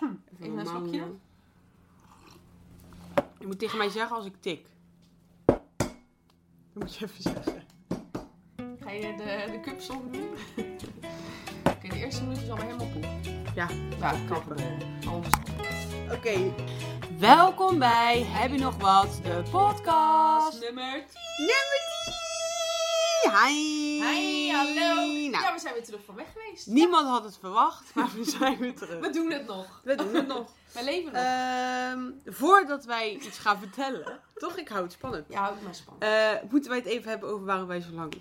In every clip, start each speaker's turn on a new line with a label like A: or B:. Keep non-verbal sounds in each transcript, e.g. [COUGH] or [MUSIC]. A: even
B: Even een
A: normaal
B: slokje?
A: doen. Je moet tegen mij zeggen als ik tik. Dat moet je even zeggen.
B: Ga je de, de cupsong [LAUGHS] doen? Oké, de eerste minuut is allemaal helemaal poep.
A: Ja,
B: Ja, dat kan gebeuren. Anders-
A: Oké.
C: Welkom bij Heb je nog wat? De podcast.
B: Nummer 10.
A: Nummer 10! Hi!
B: Hi, hallo.
A: Nou,
B: Ja, we zijn weer terug van weg geweest.
A: niemand had het verwacht, maar we zijn weer
B: We
A: terug.
B: doen het nog.
A: [LAUGHS] We doen het nog.
B: We leven nog.
A: Ehm, voordat wij iets gaan vertellen, toch? Ik hou het spannend.
B: Ja, houdt maar spannend.
A: Eh, moeten wij het even hebben over waarom wij zo lang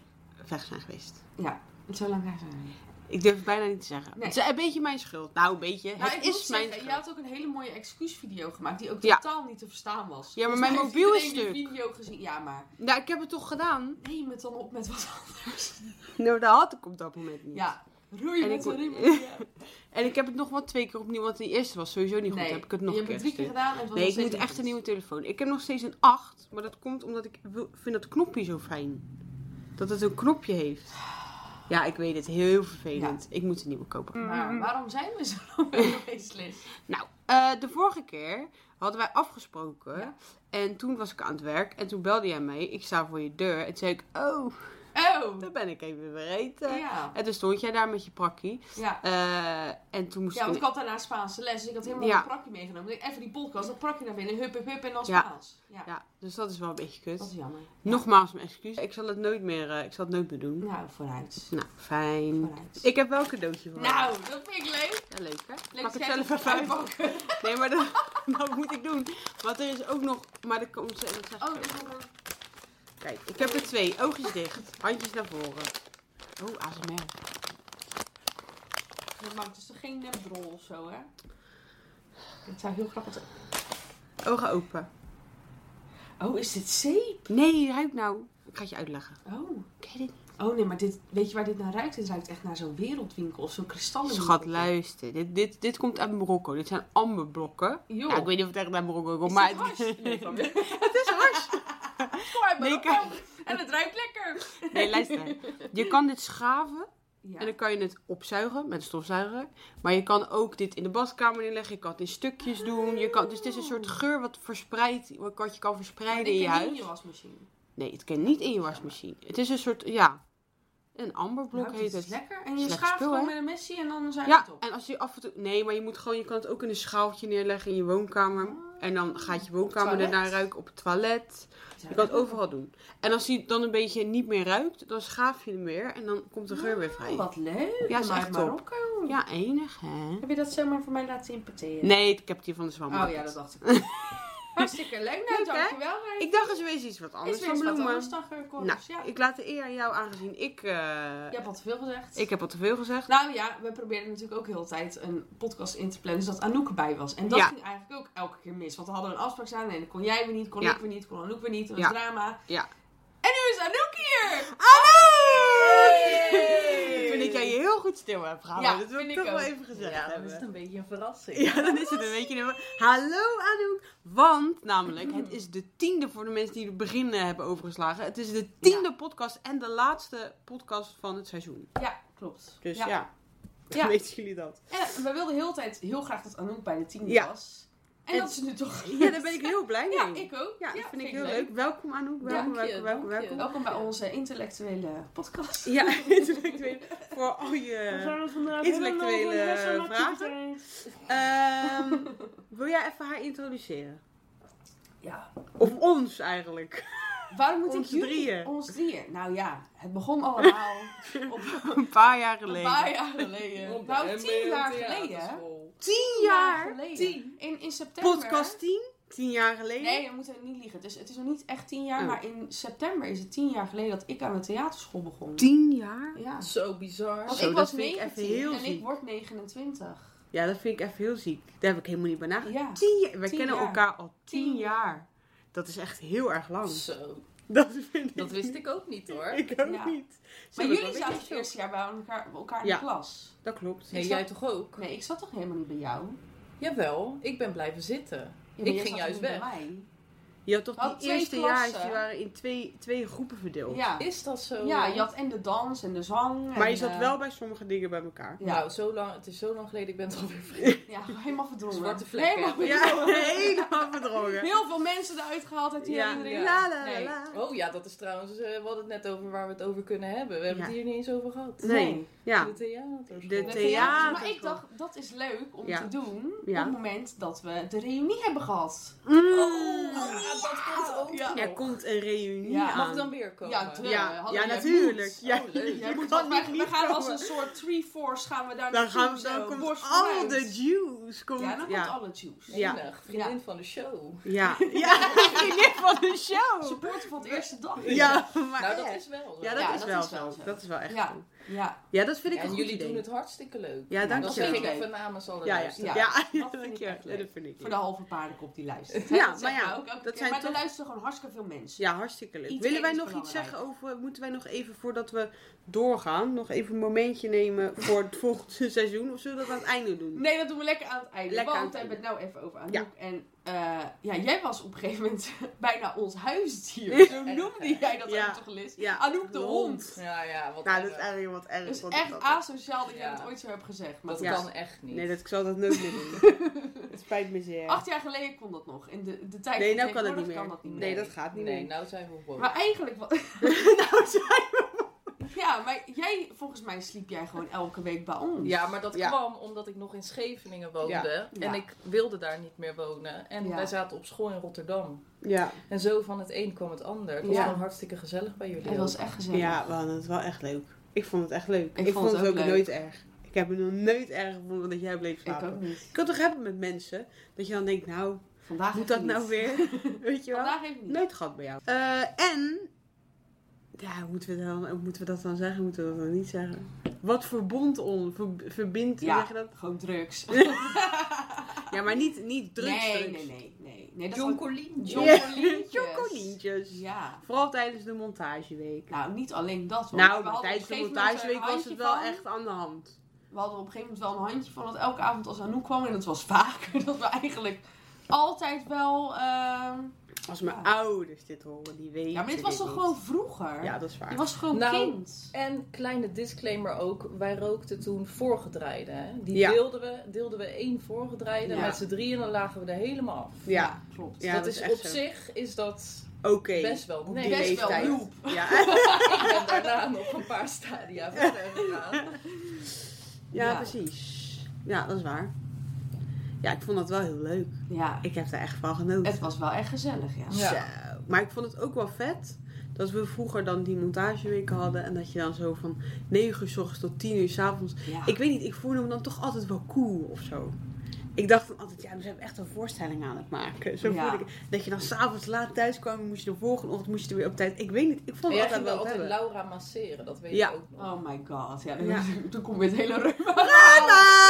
A: weg zijn geweest?
B: Ja, zo lang gaan ze niet.
A: Ik durf het bijna niet te zeggen.
B: Nee.
A: Het is een beetje mijn schuld. Nou, een beetje.
B: Nou,
A: het
B: ik moet
A: is mijn
B: zeggen, je
A: schuld.
B: had ook een hele mooie excuusvideo gemaakt die ook
A: Ja.
B: totaal niet te verstaan was.
A: Ja, maar
B: Volgens
A: mijn
B: mij
A: mobiel
B: heeft
A: is
B: iedereen die video gezien. Ja, maar
A: Nou, ik heb het toch
B: [LAUGHS]
A: gedaan?
B: neem het dan op met wat anders.
A: Nou, dat had ik op dat moment niet.
B: Ja, roeien
A: En
B: met
A: ik
B: de
A: word-
B: riem. [LAUGHS]
A: En ik heb het nog wel twee keer opnieuw, want die eerste was sowieso [LAUGHS] niet goed. heb ik het nog
B: je
A: een
B: hebt
A: keer
B: het drie keer
A: gestuurd.
B: gedaan. en het was
A: Nee,
B: nog
A: ik
B: steeds
A: moet
B: niet
A: echt
B: goed.
A: een nieuwe telefoon. Ik heb nog steeds een 8, maar dat komt omdat ik wil- vind dat knopje zo fijn. Dat het een knopje heeft. Ja, ik weet het. Heel vervelend. Ik moet een nieuwe kopen.
B: Maar waarom zijn we zo [LAUGHS] lang mee geweest, Liz?
A: Nou, eh, de vorige keer hadden wij afgesproken.
B: Ja.
A: En toen was ik aan het werk. En toen belde jij mij. Ik sta voor je deur. En toen zei ik, oh,
B: Oh!
A: daar ben ik even vergeten.
B: Ja,
A: En toen stond jij daar met je prakkie.
B: ja.
A: Eh, en toen moest
B: Ja, want
A: ik...
B: ik had daarna Spaanse les. Dus ik had helemaal
A: Ja.
B: een prakje meegenomen. Ik dacht, Even die podcast, dat prakje naar binnen. Hup, hup, hup en dan
A: Ja.
B: Spaans. Ja,
A: Ja, dus dat is wel een beetje kut.
B: dat is jammer.
A: Nogmaals mijn excuus. Ik zal het nooit meer, eh, ik zal het nooit meer doen.
B: Nou, vooruit.
A: Nou, fijn.
B: Vooruit.
A: Ik heb wel een cadeautje voor jou.
B: Nou, dat vind ik leuk.
A: Ja, leuk hè?
B: Leuk
A: Pak het
B: schrijven
A: zelf even
B: van
A: uit.
B: uitpakken.
A: [LAUGHS] Nee, maar dat, dat moet ik doen. Want er is ook nog, maar dat komt ze dat zeg ik
B: Oh,
A: ook.
B: dit is nog een...
A: Kijk, ik heb er twee. Oogjes dicht. Handjes naar voren. Oh, ASMR.
B: Dat maakt dus toch geen nepdrol of zo, hè? Dat zou heel grappig zijn.
A: Ogen open.
B: Oh, is dit zeep?
A: Nee, ruik nou. Ik ga het je uitleggen.
B: Oh.
A: Ken je dit niet?
B: Oh nee, maar dit, weet je waar dit naar ruikt? Dit ruikt echt naar zo'n wereldwinkel of zo'n kristallen.
A: Schat, luister. Dit, dit, dit komt uit Marokko. Dit zijn amberblokken.
B: Joh.
A: Ja, ik weet niet of het echt uit Marokko komt,
B: Is
A: maar... [LAUGHS]
B: dit hars? Nee, van-
A: het is hars.
B: Kom uit
A: Nee,
B: Marokko. En het ruikt lekker.
A: Nee, luister. Je kan dit schaven
B: Ja.
A: en dan kan je het opzuigen met een stofzuiger. Maar je kan ook dit in de badkamer neerleggen. Je kan het in stukjes doen. Je kan, dus het is een soort geur wat verspreidt, wat je kan
B: En
A: verspreiden
B: ik
A: in je
B: heb
A: huis.
B: in je wasmachine.
A: Nee, het kan niet in je wasmachine. Het is een soort, ja, een amberblok
B: Nou, dit
A: heet
B: is
A: het.
B: lekker. En je
A: Slecht
B: schaaft
A: spul,
B: gewoon
A: hè?
B: met een messie en dan zijn
A: Ja,
B: het op.
A: en als je af en toe... Nee, maar je moet gewoon... Je kan het ook in een schaaltje neerleggen in je woonkamer. En dan gaat je woonkamer
B: Oh. toilet?
A: daarna ruiken op het toilet. Je kan het overal doen. En als hij dan een beetje niet meer ruikt, dan schaaf je hem weer. En dan komt de geur weer vrij.
B: Oh, wat leuk.
A: Ja, is
B: Maar
A: echt top.
B: Marokko.
A: Ja, enig hè?
B: Heb je dat zomaar voor mij laten importeren?
A: Nee, ik heb het hier van de zwammer.
B: Oh ja, dat dacht ik. [LAUGHS] Hartstikke leuk. Nou,
A: Leuk, hè?
B: dankjewel. Rijn.
A: Ik dacht eens wees iets wat
B: Is
A: anders
B: weer
A: van
B: eens wat
A: bloemen.
B: anders, dag, eh, Corus.
A: Nou,
B: ja.
A: ik laat de eer aan jou aangezien ik... eh,
B: Je hebt al te veel gezegd.
A: Ik heb al te veel gezegd.
B: Nou ja, we probeerden natuurlijk ook heel de tijd een podcast in te plannen zodat Anouk erbij was. En dat
A: Ja.
B: ging eigenlijk ook elke keer mis. Want we hadden een afspraak staan en dan kon jij weer niet, kon
A: Ja.
B: ik weer niet, kon Anouk weer niet. Dat was
A: Ja.
B: drama.
A: Ja.
B: En nu is Anouk hier!
A: Hallo!
B: Hey!
A: Toen ik jij je heel goed stil hebt gehouden.
B: Ja,
A: dat wil
B: vind
A: ik
B: ik
A: toch wel
B: ook.
A: even gezegd hebben.
C: een beetje een verrassing.
A: Ja, dan is het een beetje... een- Hallo Anouk! Want namelijk, het is de tiende voor de mensen die het begin eh, hebben overgeslagen. Het is de tiende podcast en de laatste podcast van het seizoen.
B: Ja, klopt.
A: Dus
B: ja.
A: ja,
B: Ja.
A: weten jullie dat.
B: En eh, we wilden heel de tijd heel graag dat Anouk bij de tiende
A: Ja.
B: was. En,
A: En-
B: dat is nu toch...
A: Ja, daar ben ik heel blij mee.
B: [LAUGHS] Ja, ik ook.
A: Ja, dat vind ik heel leuk. Welkom Anouk, welkom,
C: Dank je,
A: welkom, welkom,
C: dank je.
A: welkom.
B: Welkom bij onze intellectuele podcast. [LAUGHS]
A: Ja, [LAUGHS] intellectuele. Voor al
C: [LAUGHS] Oh,
A: je... Eh, intellectuele vragen. Ehm, wil jij even haar introduceren?
B: Ja.
A: Of ons eigenlijk.
B: Waarom moet
A: Ons
B: ik jullie...
A: drieën.
B: Ons drieën. Nou ja, het begon
A: [LAUGHS]
B: allemaal op
A: [LAUGHS] Een paar jaar
B: een
A: geleden.
B: paar jaar geleden. Nou, tien jaar geleden. hè?
A: Tien
B: Tien jaar
A: jaar?
B: geleden.
C: Tien.
B: In, in september.
A: Podcast 10? Tien jaar geleden?
B: Nee, we moeten niet liegen. Dus het is nog niet echt tien jaar,
A: Oh.
B: maar in september is het tien jaar geleden dat ik aan de theaterschool begon.
A: Tien jaar?
B: Ja.
C: Zo bizar.
B: Want
A: Zo,
B: ik
A: dat
B: was
A: vind ik echt
B: 19
A: heel
B: en ik
A: ziek.
B: word 29.
A: Ja, dat vind ik even heel ziek. Daar heb ik helemaal niet bij nagedacht.
B: Ja.
A: Tien jaar. Wij
B: Tien
A: kennen
B: jaar.
A: elkaar al tien,
B: Tien
A: jaar. Dat is echt heel erg lang.
C: Zo.
A: Oh. [LAUGHS] Dat vind ik.
C: Dat wist ik ook niet hoor.
A: [LAUGHS] ik ook
B: Ja.
A: niet. Zo,
B: Maar
A: dat
B: jullie
A: weet
B: zaten
A: ik
B: het
A: wel.
B: eerste jaar bij elkaar, bij elkaar in
A: Ja.
B: de klas.
A: Dat klopt.
C: Nee,
B: Ik
C: jij
B: zat-
C: toch ook?
B: Nee, ik zat toch helemaal niet bij jou? Ja,
C: Jawel, ik ben blijven zitten.
B: maar
C: Ik
B: jij
C: ging
B: zat
C: juist
B: toen bij
C: weg.
B: mij.
A: Je had toch
C: We hadden
A: die
C: twee
A: eerste
C: klassen.
A: jaartjes, die waren in twee, twee groepen verdeeld.
B: Ja.
C: Is dat zo?
B: ja, je had en de dans en de zang.
A: Maar
B: en,
A: je zat
B: eh,
A: wel bij sommige dingen bij elkaar.
B: Ja.
C: Nou, zo lang, het is zo lang geleden, ik ben het alweer vergeten.
B: Ja, helemaal verdrongen.
C: Zwarte vlekken.
B: Helemaal
A: Ja, [LAUGHS]
B: verdrongen. [LAUGHS]
A: helemaal verdrongen.
B: Heel veel mensen eruit gehaald uit die
A: Ja.
B: herinnering.
A: La, la,
B: Nee.
A: la.
C: Oh ja, dat is trouwens, eh, we hadden het net over waar we het over kunnen hebben. We hebben
A: Ja.
C: het hier niet eens over gehad.
A: Nee. Ja,
C: De theater.
A: De
B: Met
A: thea-
B: theater. Maar
A: theater.
B: ik dacht, dat is leuk om
A: Ja.
B: te doen
A: Ja.
B: op het moment dat we de reunie hebben gehad.
A: Mm. Oh,
C: dat komt ook
B: Ja.
C: nog.
A: er komt een reunie
B: Ja.
C: Mag
A: aan.
C: dan weer komen?
B: Ja, tuurlijk.
A: ja,
B: Hadden
A: ja
B: we-
A: natuurlijk.
B: moet.
A: Ja,
C: Oh, leuk.
A: je
B: Jij
A: kan
B: moet, want
A: niet
B: wij, wij
A: niet
B: gaan als
A: komen.
B: een soort three-force gaan we daar
A: Dan,
B: naartoe
A: gaan, we-
B: zo,
A: dan komt
B: borst
A: al
B: vooruit.
A: de juice. Komt,
B: Ja, dan komt
A: ja.
B: alle juice.
A: Ja.
C: Enig, vriendin van de show.
B: [LAUGHS]
A: Ja. ja, vriendin van de show.
B: Supporter van de eerste dag.
A: Ja, maar
C: nou, dat
A: echt.
C: is wel. zo.
A: ja, dat
B: Ja,
A: is
B: dat
A: wel
B: is wel
A: zo.
B: zo.
A: Dat is wel echt
B: Ja.
A: zo.
B: Ja,
A: Ja, dat vind ik een
C: en
A: goed
C: jullie
A: idee.
C: doen het hartstikke leuk. Nou,
A: Ja, dank
C: dat
A: je.
C: vind ik
B: Leuk.
C: even namens alle
A: Ja, ja,
C: luisteraars.
A: ja.
B: Ja,
A: ja, [LAUGHS]
B: dat vind
A: dank
B: ik
A: je.
B: echt
A: Ja,
B: leuk.
A: dat vind ik.
B: voor
A: leuk.
B: de halve paardenkop die luistert.
A: Ja,
B: Dat zeggen
A: maar ja,
B: we ook elke
A: dat
B: keer.
A: zijn
B: maar er
A: toch-
B: luisteren gewoon hartstikke veel mensen.
A: Ja, hartstikke leuk.
B: Iedereen
A: Willen wij
B: is
A: nog iets
B: belangrijk.
A: zeggen over, moeten wij nog even voordat we doorgaan, nog even een momentje nemen voor het volgende [LAUGHS] seizoen? Of zullen we dat aan het einde doen?
B: Nee, dat doen we lekker aan het einde.
A: Lekker aan
B: want
A: het
B: we hebben het nou even over Anouk.
A: Ja.
B: En eh, ja, jij was op een gegeven moment [LAUGHS] bijna ons huisdier. eh, Zo noemde jij dat
A: Ja.
B: ook toch al eens.
A: Ja,
B: Anouk de hond.
C: Ja, ja, wat
A: Nou, dat is
C: erg.
A: eigenlijk wat erg.
B: Dat is
A: want
B: echt
A: dat-
B: asociaal dat jij
C: Ja.
B: dat ooit zo hebt gezegd. Maar
C: Dat
A: Ja.
C: kan echt niet.
A: Nee, dat, ik zal dat nooit meer doen.
B: [LAUGHS]
A: Het spijt me zeer.
B: acht jaar geleden kon dat nog. In de, de tijd
A: Nee,
B: van
A: nou kan het
B: tegenwoordig
A: niet meer.
B: kan dat niet meer.
A: Nee, dat gaat niet
C: Nee,
A: meer.
C: nou zijn we gewoon.
B: Maar eigenlijk... wa- [LAUGHS]
A: [LAUGHS] Nou, zijn
B: Ja, maar jij, volgens mij sliep jij gewoon elke week bij ons.
C: Ja, maar dat
A: Ja.
C: kwam omdat ik nog in Scheveningen woonde. En
B: Ja.
C: ik wilde daar niet meer wonen. En
B: Ja.
C: wij zaten op school in Rotterdam.
A: Ja,
C: En zo van het een kwam het ander. Het was
B: Ja.
C: gewoon hartstikke gezellig bij jullie.
B: Dat was
C: ook.
B: echt gezellig.
A: ja we hadden het wel echt leuk. Ik vond het echt leuk.
B: Ik vond het ook leuk.
A: nooit erg. Ik heb het nog nooit erg gevonden dat jij bleef
B: Ik
A: slapen.
B: ook niet.
A: Ik kan toch hebben met mensen dat je dan denkt, nou, moet
B: Vandaag heeft
A: dat
B: niet.
A: nou weer?
B: [LAUGHS]
A: Nou. Weet je wel?
B: Vandaag even niet.
A: Nooit gehad bij jou. Eh, en, ja, hoe moeten we, dan, hoe moeten we dat dan zeggen? Moeten we dat dan niet zeggen? Wat verbond ons? Ver- verbindt,
B: Ja.
A: ja. zeg je dat?
B: Gewoon drugs.
A: Ja, maar niet, niet drugs.
B: nee,
A: drugs.
B: nee, nee, nee. nee dat
C: John
B: had-
C: Collin.
B: John
A: Ja. [LAUGHS]
B: Corlientjes.
A: Chocolientjes.
B: Ja.
A: Vooral tijdens de montageweek.
B: Nou, niet alleen dat. want
A: nou,
B: we hadden
A: maar
B: op
A: tijdens
B: een
A: de
B: gegeven moment er
A: montageweek
B: een
A: was het
B: handje
A: wel
B: van.
A: echt aan de hand.
B: We hadden op een gegeven moment wel een handje van dat elke avond als Anouk kwam. En dat was [LAUGHS] vaker. Dat we eigenlijk altijd wel... ehm,
A: Als mijn
B: Ja.
A: ouders dit horen, die weten
B: Ja, maar dit was toch
A: niet.
B: gewoon vroeger?
A: Ja, dat is waar.
B: Je was gewoon
C: Nou,
B: kind.
C: En kleine disclaimer ook. Wij rookten toen voorgedraaiden. Hè? Die
A: Ja.
C: deelden, we, deelden we één voorgedraaide
B: Ja.
C: met z'n drieën. En dan lagen we er helemaal af.
A: Ja,
B: klopt.
A: Ja,
C: dat,
A: Dus dat is
C: is,
A: echt
C: op
A: zo.
C: zich is dat
A: oké.
C: best wel
A: Op
C: nee,
A: die
B: best wel
A: leeftijd.
B: loep.
A: [LAUGHS] Ja.
C: Ik ben daarna [LAUGHS] nog een paar
A: [LAUGHS]
C: stadia verder gegaan.
A: Ja,
B: Ja.
A: precies. Ja, dat is waar. Ja, ik vond dat wel heel leuk.
B: Ja,
A: Ik heb daar echt van genoten.
B: het was wel echt gezellig, ja.
C: Ja.
A: Zo. Maar ik vond het ook wel vet dat we vroeger dan die montageweken hadden. En dat je dan zo van 9 uur s ochtends tot 10 uur s avonds.
B: Ja.
A: Ik weet niet, ik voelde me dan toch altijd wel cool of zo. Ik dacht dan altijd, ja, we zijn echt een voorstelling aan het maken. Zo
B: Ja.
A: voelde ik. het. Dat je dan s'avonds laat thuis kwam, moest je de volgende ochtend moest je er weer op tijd. Ik weet niet, ik vond het
C: En jij
A: altijd
C: ging
A: wel
C: wel
A: wat
C: altijd
A: hebben.
C: Laura masseren, dat weet
A: Ja.
C: ik ook nog.
B: Oh my god, ja. Dan,
A: Ja.
B: [LAUGHS] toen kom je met hele reuma. [LAUGHS]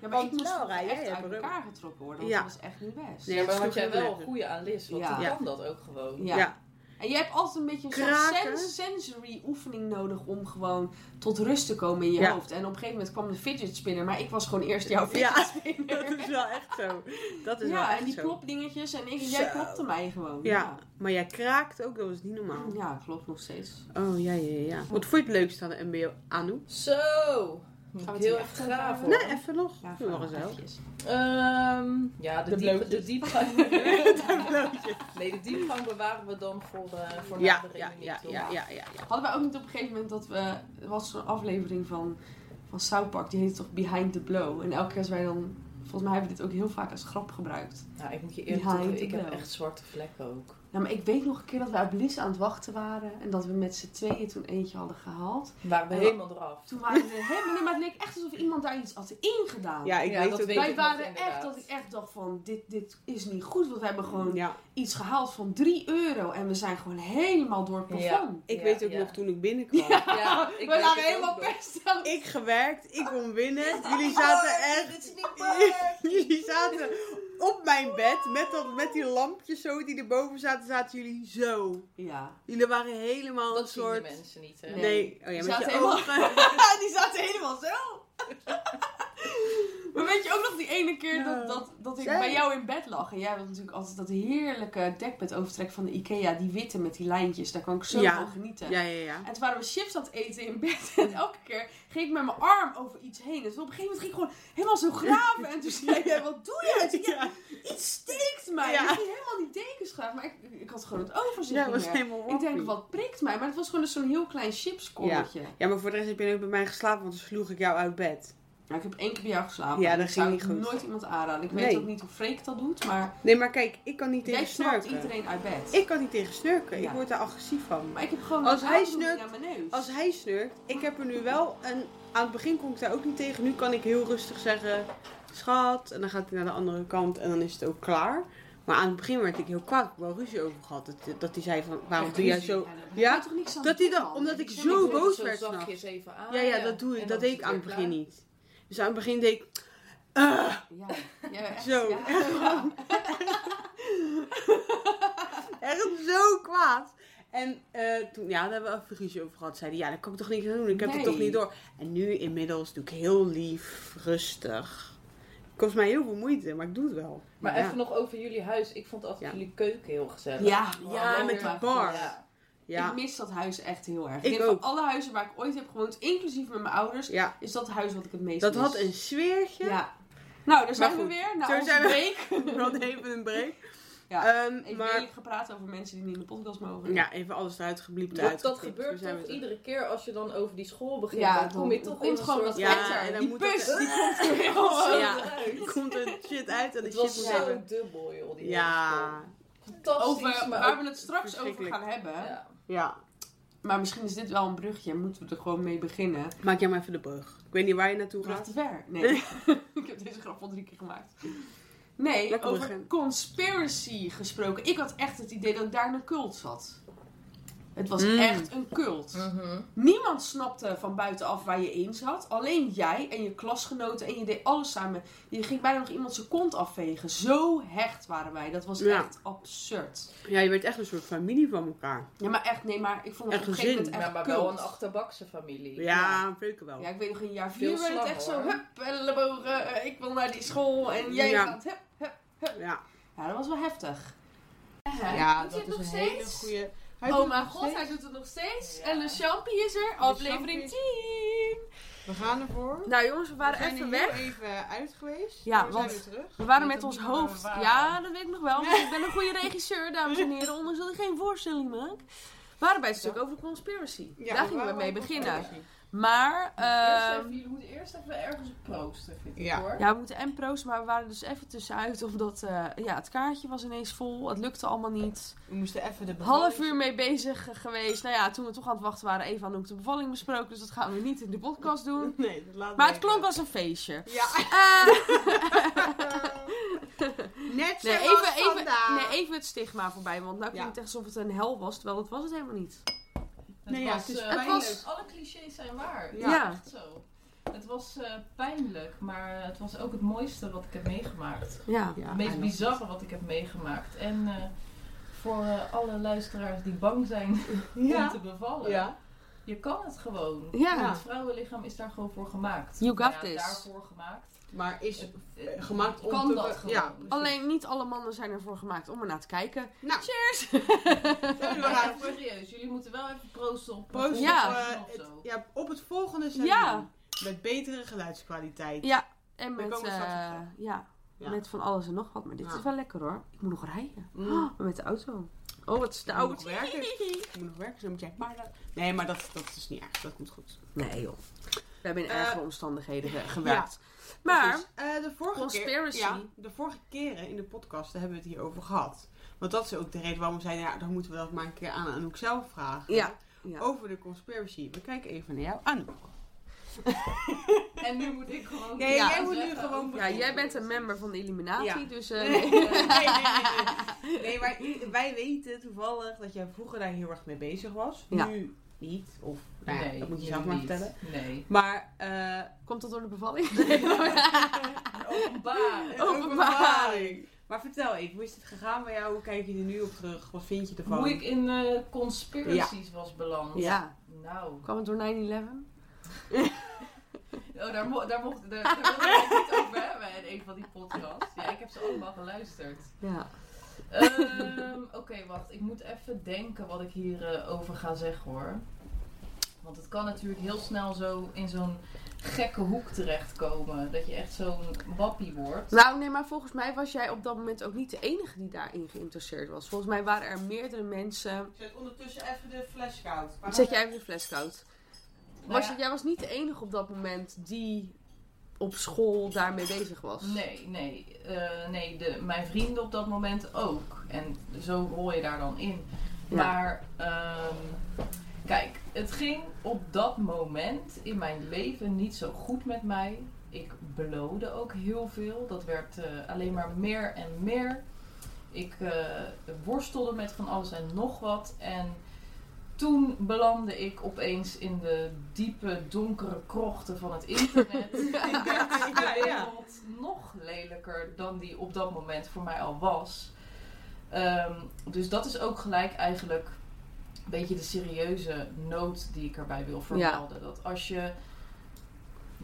B: Ja, maar
A: Want
B: ik moest
A: Laura, jij
B: echt
A: hebt
B: uit
A: reuma.
B: elkaar getrokken worden, want
A: Ja.
B: dat was echt niet best.
A: Nee.
C: Ja, maar
A: dat
C: had
A: sloeg
C: jij
A: heel
C: wel
A: erg.
C: een goede aan Liz, want
B: Ja.
C: die
A: Ja.
C: kan dat ook gewoon.
B: Ja.
A: Ja.
B: En je hebt altijd een beetje een soort
A: Kraken.
B: sen- sensory oefening nodig om gewoon tot rust te komen in je
A: Ja.
B: hoofd. En op een gegeven moment kwam de fidget spinner, maar ik was gewoon eerst jouw
A: Ja.
B: fidget
A: [LAUGHS]
B: spinner.
A: dat is wel echt zo. Dat is wel
B: [LAUGHS] Ja,
A: echt
B: en die
A: zo.
B: klopdingetjes en ik,
A: Zo.
B: jij klopte mij gewoon.
A: Ja, nou. maar jij kraakt ook, dat was niet normaal.
B: ja. Ja, klopt nog steeds.
A: Oh ja, ja, ja. Wat vond je het leukste aan de MBO, Anouk?
C: Zo! Moet
B: Gaan
C: ik
B: we
C: heel
B: het
C: even
B: hier
C: graven.
B: even
A: Nee, even nog.
B: Ja,
A: Doe maar eens wel.
B: eventjes.
C: Ehm, ja, de,
A: De
C: diep,
B: dus.
C: de
A: blootjes. [LAUGHS]
C: diepgang.
A: De blootjes.
C: nee, de diepgang bewaren we dan voor, eh
A: dus.
C: voor na
A: Ja,
C: de
A: ja,
C: reunie,
A: ja,
C: toch?
A: ja, ja, ja. ja.
B: Hadden wij ook niet op een gegeven moment dat we... Er was zo'n aflevering van, van South Park, die heette toch Behind the Blow. En elke keer als wij dan... Volgens mij hebben we dit ook heel vaak als grap gebruikt.
C: Nou, ik moet je eerlijk
B: Ja,
C: zeggen,
B: ik
C: ik heb
B: wel.
C: echt zwarte vlekken ook.
B: Nou, maar ik weet nog een keer dat wij op Lies aan het wachten waren. En dat we met z'n tweeën toen eentje hadden gehaald.
C: Waren we
B: Ja.
C: helemaal eraf.
B: Toen waren we helemaal... Maar het leek echt alsof iemand daar iets had ingedaan.
A: Ja, ik
C: Ja,
A: weet
C: dat
A: het
C: weet
A: wel.
B: wij
C: ik nog,
B: waren echt
C: inderdaad.
B: dat ik echt dacht van, dit, dit is niet goed. Want we hebben gewoon
A: Ja,
B: iets gehaald van 3 euro. En we zijn gewoon helemaal door het plafond.
A: ik
C: Ja,
A: weet ook
C: ja.
A: nog toen ik binnenkwam. [LAUGHS]
C: Ja, ik
B: we
C: weet
B: lagen
C: het
B: helemaal
C: ook nog.
B: best aan
A: Ik gewerkt, ik kon winnen.
C: Oh,
A: Jullie zaten
B: Oh,
A: echt... Jullie zaten op mijn bed met, dat, met die lampjes zo die erboven zaten, zaten jullie zo.
B: Ja.
C: [LAUGHS]
A: Jullie waren helemaal
C: Dat
A: een
C: zien de
A: soort...
C: mensen niet, hè?
A: Nee, oh ja, met
B: zaten
A: je
C: Ah,
B: helemaal-
A: ogen.
B: die zaten helemaal zo. [LAUGHS] Maar weet je ook nog die ene keer
A: Ja.
B: dat, dat, dat ik
A: Zij-
B: bij jou in bed lag? En jij had natuurlijk altijd dat heerlijke dekbedovertrek van de Ikea. Die witte met die lijntjes. Daar kan ik zo
A: Ja.
B: van
A: [LAUGHS]
B: genieten.
A: Ja, ja,
B: [LAUGHS]
A: ja.
B: En toen waren we chips aan het eten in bed. [LAUGHS] En elke keer ging ik met mijn arm over iets heen. En toen op een gegeven moment ging ik gewoon helemaal zo graven. En toen zei jij, wat doe je? En toen, ja,
A: Ja,
B: iets steekt mij.
A: Ja.
B: Ik ging helemaal die dekens graven. Maar ik, ik had gewoon het overzicht
A: ja
B: niet
A: was
B: meer.
A: helemaal
B: Ik denk,
A: wappie.
B: wat prikt mij? Maar het was gewoon dus zo'n heel klein chipskolletje. Ja.
A: Ja, maar voor de rest heb je ook bij mij geslapen, want toen sloeg ik jou uit bed.
B: Nou, ik heb één keer bij jou geslapen.
A: Ja, dat ging
B: Ik zou
A: niet
B: het
A: goed.
B: nooit iemand aanraden. Ik weet
A: Nee.
B: ook niet hoe Freek dat doet, maar
A: Nee, maar kijk, ik kan niet
B: jij
A: tegen
B: snapt
A: snurken.
B: iedereen uit bed.
A: Ik kan niet tegen snurken.
B: Ja.
A: Ik word daar agressief van.
B: Maar ik heb gewoon
A: Als
B: een
A: hij
B: zaaddoekje
A: snurkt-
B: naar mijn neus.
A: Als hij snurkt, ik heb er nu wel een... Aan het begin kon ik daar ook niet tegen. Nu kan ik heel rustig zeggen, schat. En dan gaat hij naar de andere kant en dan is het ook klaar. Maar aan het begin werd ik heel kwaad. Ik heb wel ruzie over gehad. Dat, dat hij zei van, waarom
B: Echt
A: doe jij
B: ruzie.
A: zo...
B: daar kan
A: Ja,
B: je toch niks aan
A: dat hij
B: doen,
A: dan-
B: man?
A: omdat ik
C: Ja,
A: zo
C: maar je doet
A: boos
C: zo
A: werd
C: zachtjes even aan.
A: Ja, ja, dat, doe
C: En
A: ik, dat
C: dan
A: deed ik
C: is
A: aan het
C: het weer
A: begin
C: klaar.
A: niet. Dus aan het begin deed ik... "Ah."
B: Ja, ja, echt,
A: Zo.
B: ja.
A: [LAUGHS] Echt zo kwaad. En eh, toen, ja, daar hebben we even ruzie over gehad. Zeiden, ja, daar kan ik toch niks aan doen. Ik heb
B: Nee.
A: het toch niet door. En nu inmiddels doe ik heel lief, rustig. Kost mij heel veel moeite, maar ik doe het wel.
C: Maar
A: ja.
C: even nog over jullie huis. Ik vond altijd
A: Ja.
C: jullie keuken heel gezellig.
B: Ja,
C: Oh,
A: Ja,
C: lekker.
A: met die
B: maar-
A: bar.
C: Ja.
A: Ja,
B: Ik mis dat huis echt heel erg.
A: Ik
B: denk van
A: ook.
B: alle huizen waar ik ooit heb gewoond, inclusief met mijn ouders,
A: ja.
B: is dat huis wat ik het meest
A: Dat
B: mis.
A: had een sfeertje. [LAUGHS]
B: Ja. Nou, daar zijn we
A: goed,
B: weer. Na
A: zo
B: onze
A: zijn we.
B: break.
A: We hadden even een break.
B: Ja.
A: Ehm,
B: Even
A: maar
B: eerlijk gepraat over mensen die niet in de podcast mogen.
A: ja, even alles eruit gebliept.
C: Dat,
A: eruit
C: dat
A: gepikt.
C: gebeurt
A: Toen zijn we
C: toch
A: terug.
C: iedere keer als je dan over die school begint.
B: Ja,
C: dan kom je
B: dan
C: toch
B: komt
C: in een
B: gewoon
C: soort...
B: dat
A: Ja,
B: vetter.
A: en dan
B: die
A: moet
B: bus,
A: dat-
B: die
C: [LAUGHS]
B: komt er weer gewoon.
A: Ja.
C: eruit.
A: [LAUGHS] Komt er shit uit en de
C: Het
A: shit
C: was
A: moet
C: zo
A: hebben.
C: dubbel, joh. Die hele
A: Ja,
C: school. Fantastisch.
B: Over,
C: maar
B: waar
C: ook-
B: we het straks over
A: verschrikkelijk.
B: gaan hebben.
C: ja.
A: ja.
B: Maar misschien is dit wel een brugje. Moeten we er gewoon mee beginnen.
A: Maak jij maar even de brug. Ik weet niet waar je naartoe gaat.
B: Gaat te ver. Nee. [LAUGHS] ik heb deze grap al drie keer gemaakt. Nee,
A: Lekker
B: over
A: begin.
B: conspiracy gesproken. Ik had echt het idee dat ik daar in een cult zat. Het was
A: Mm.
B: echt een cult. Niemand snapte van buitenaf waar je in zat. Alleen jij en je klasgenoten en je deed alles samen. Je ging bijna nog iemand zijn kont afvegen. Zo hecht waren wij. Dat was
A: Ja.
B: echt absurd.
A: Ja, je werd echt een soort familie van elkaar.
B: Ja, maar echt, nee, maar ik vond het
A: Echt
B: op een gegeven
A: gezin.
B: moment echt
C: Ja, maar
B: cult.
C: wel een achterbakse familie.
A: Ja, zeker wel.
B: Ja, ik weet nog in jaar
C: Veel
B: vier werd het
C: slag,
B: echt
C: hoor.
B: zo, hup, ellebogen, eh, ik wil naar die school en jij
A: Ja.
B: gaat, hup, hup.
A: Ja.
B: Ja, Nou, dat was wel heftig.
A: Ja,
B: Doet hij
A: dat
B: het
A: is
B: nog
A: een hele
B: steeds?
A: goede.
B: oh mijn god, hij doet het nog steeds.
C: Ja.
B: En Le Champy is er, aflevering 10.
A: We gaan ervoor.
B: Nou jongens, we waren
A: we zijn
B: even
A: er heel
B: weg.
A: even uit geweest.
B: Ja,
A: maar we
B: want-
A: zijn weer terug.
B: We waren
A: Weet
B: met
A: ook
B: ons
A: niet waar we
B: hoofd.
A: waren.
B: Ja, dat weet ik nog wel. Want ik ben een goede regisseur, dames en heren. Ondanks dat ik geen voorstelling maak. We waren bij het stuk over conspiracy.
A: Ja,
B: Daar gingen we
A: waarom Oh,
B: mee
A: ook
B: beginnen.
A: conspiracy?
B: Maar,
C: Eerst
B: ehm
C: even, jullie moeten eerst even ergens op proosten, vind ik
A: Ja.
C: hoor.
B: ja, we moeten en proosten, maar we waren dus even tussenuit. Omdat eh, ja, het kaartje was ineens vol. Het lukte allemaal niet.
A: We moesten even de
B: Half uur mee bezig eh, geweest. Nou ja, toen we toch aan het wachten waren, even aan de hoek de bevalling besproken. Dus dat gaan we niet in de podcast
A: [LAUGHS]
B: doen.
A: Nee, dat laat
B: Maar het klonk als een feestje.
A: Ja.
B: [LAUGHS] Eh,
A: Net
B: nee,
A: zoals
B: even, even,
A: vandaag.
B: nee, even het stigma voorbij. Want nou klinkt
A: Ja.
B: het echt alsof het een hel was. Terwijl dat was het helemaal niet.
C: Het
A: Nee, ja,
C: was,
A: het is
C: eh,
A: pijnlijk.
C: was- alle clichés zijn waar.
A: Ja.
B: Ja.
C: Echt zo. Het was eh, pijnlijk, maar het was ook het mooiste wat ik heb meegemaakt.
B: Ja.
A: Ja,
C: Het meest
A: en-
C: bizarre wat ik heb meegemaakt. En eh, voor eh, alle luisteraars die bang zijn om te
A: Ja.
C: bevallen.
A: Ja.
C: Je kan het gewoon.
B: Ja.
C: Het vrouwenlichaam is daar gewoon voor gemaakt.
B: You got
C: ja,
B: this.
C: daarvoor gemaakt.
A: Maar is
C: Het- het-
A: gemaakt om
C: kan
A: te
C: dat
A: be-
C: gewoon.
A: ja, precies.
B: Alleen niet alle mannen zijn ervoor gemaakt om ernaar te kijken.
A: Nou,
B: Cheers!
A: zullen we
C: Maar
A: gaan
C: even serieus, jullie moeten wel even proosten op
A: posten
B: Ja.
A: op, eh,
C: of
A: het-
C: zo.
A: ja, op het volgende seizoen.
B: Ja.
A: Met betere geluidskwaliteit.
B: Ja, en
A: We
B: met,
A: komen straks
B: eh,
A: op
B: ja,
A: Ja.
B: met van alles en nog wat. Maar dit
A: Ja.
B: is wel lekker hoor. Ik moet nog rijden.
A: Mm.
B: Ah, [GASPS] met de auto. Oh, wat is de
A: Ik moet nog
B: auto?
A: werken.
B: [LAUGHS]
A: Ik moet nog werken, zo moet jij. Maar dat- Nee, maar dat, dat is niet erg. Dat komt goed.
B: Nee joh. We hebben in
A: Eh,
B: ergere omstandigheden eh, gewerkt. maar,
A: Precies. Eh, de vorige
B: Conspiracy.
A: Keer, ja, de vorige keren in de podcast daar hebben we het hier over gehad. Want dat is ook de reden waarom we zeiden, ja, dan moeten we dat maar een keer aan Anouk zelf vragen.
B: ja. ja.
A: Over de conspiracy. We kijken even naar jou. Anouk.
C: En nu moet ik gewoon.
A: Nee,
B: Ja.
A: jij moet nu gewoon
B: ja,
A: beginnen.
B: jij bent een member van de Illuminati,
A: Ja.
B: dus... eh,
A: Nee, nee, nee, nee. Nee, maar i- wij weten toevallig dat jij vroeger daar heel erg mee bezig was.
B: Ja.
A: Nu niet. Of, nou ja, dat moet je
C: nu
A: zelf maar
C: niet.
A: vertellen.
C: Nee.
A: Maar, eh,
B: Komt dat door de bevalling?
C: [LAUGHS]
B: [LAUGHS]
C: Openbaar.
A: een
B: Openbaring.
A: Maar vertel even, hoe is het gegaan bij jou? Hoe kijk je er nu op terug? Wat vind je ervan?
C: Hoe ik in eh, conspiracies was beland.
B: ja.
C: Nou,
B: Kwam het door 9-11?
C: Oh, daar, mo daar mocht daar, daar wilden we het niet [LAUGHS] over hebben in een van die podcasts. Ja, ik heb ze allemaal geluisterd.
A: Ja.
C: Ehm, [LAUGHS] Oké, wacht. Ik moet even denken wat ik hierover over ga zeggen hoor. Want het kan natuurlijk heel snel zo in zo'n gekke hoek terechtkomen. Dat je echt zo'n wappie wordt.
B: Nou, nee, maar volgens mij was jij op dat moment ook niet de enige die daarin geïnteresseerd was. Volgens mij waren er meerdere mensen.
A: Zet ondertussen even de fles koud.
B: Zet jij even de fles koud.
C: Nou
B: Was
C: ja,
B: je- jij was niet de enige op dat moment die op school daarmee bezig was.
C: Nee, nee. eh, nee, de, mijn vrienden op dat moment ook. En zo rol je daar dan in.
B: Ja.
C: Maar ehm, kijk, het ging op dat moment in mijn leven niet zo goed met mij. Ik blode ook heel veel. Dat werd eh, alleen maar meer en meer. Ik eh, worstelde met van alles en nog wat. En toen belandde ik opeens in de diepe, donkere krochten van het internet. ik werd in de wereld nog lelijker dan die op dat moment voor mij al was. Ehm, dus dat is ook gelijk eigenlijk een beetje de serieuze noot die ik erbij wil vermelden. Dat als je...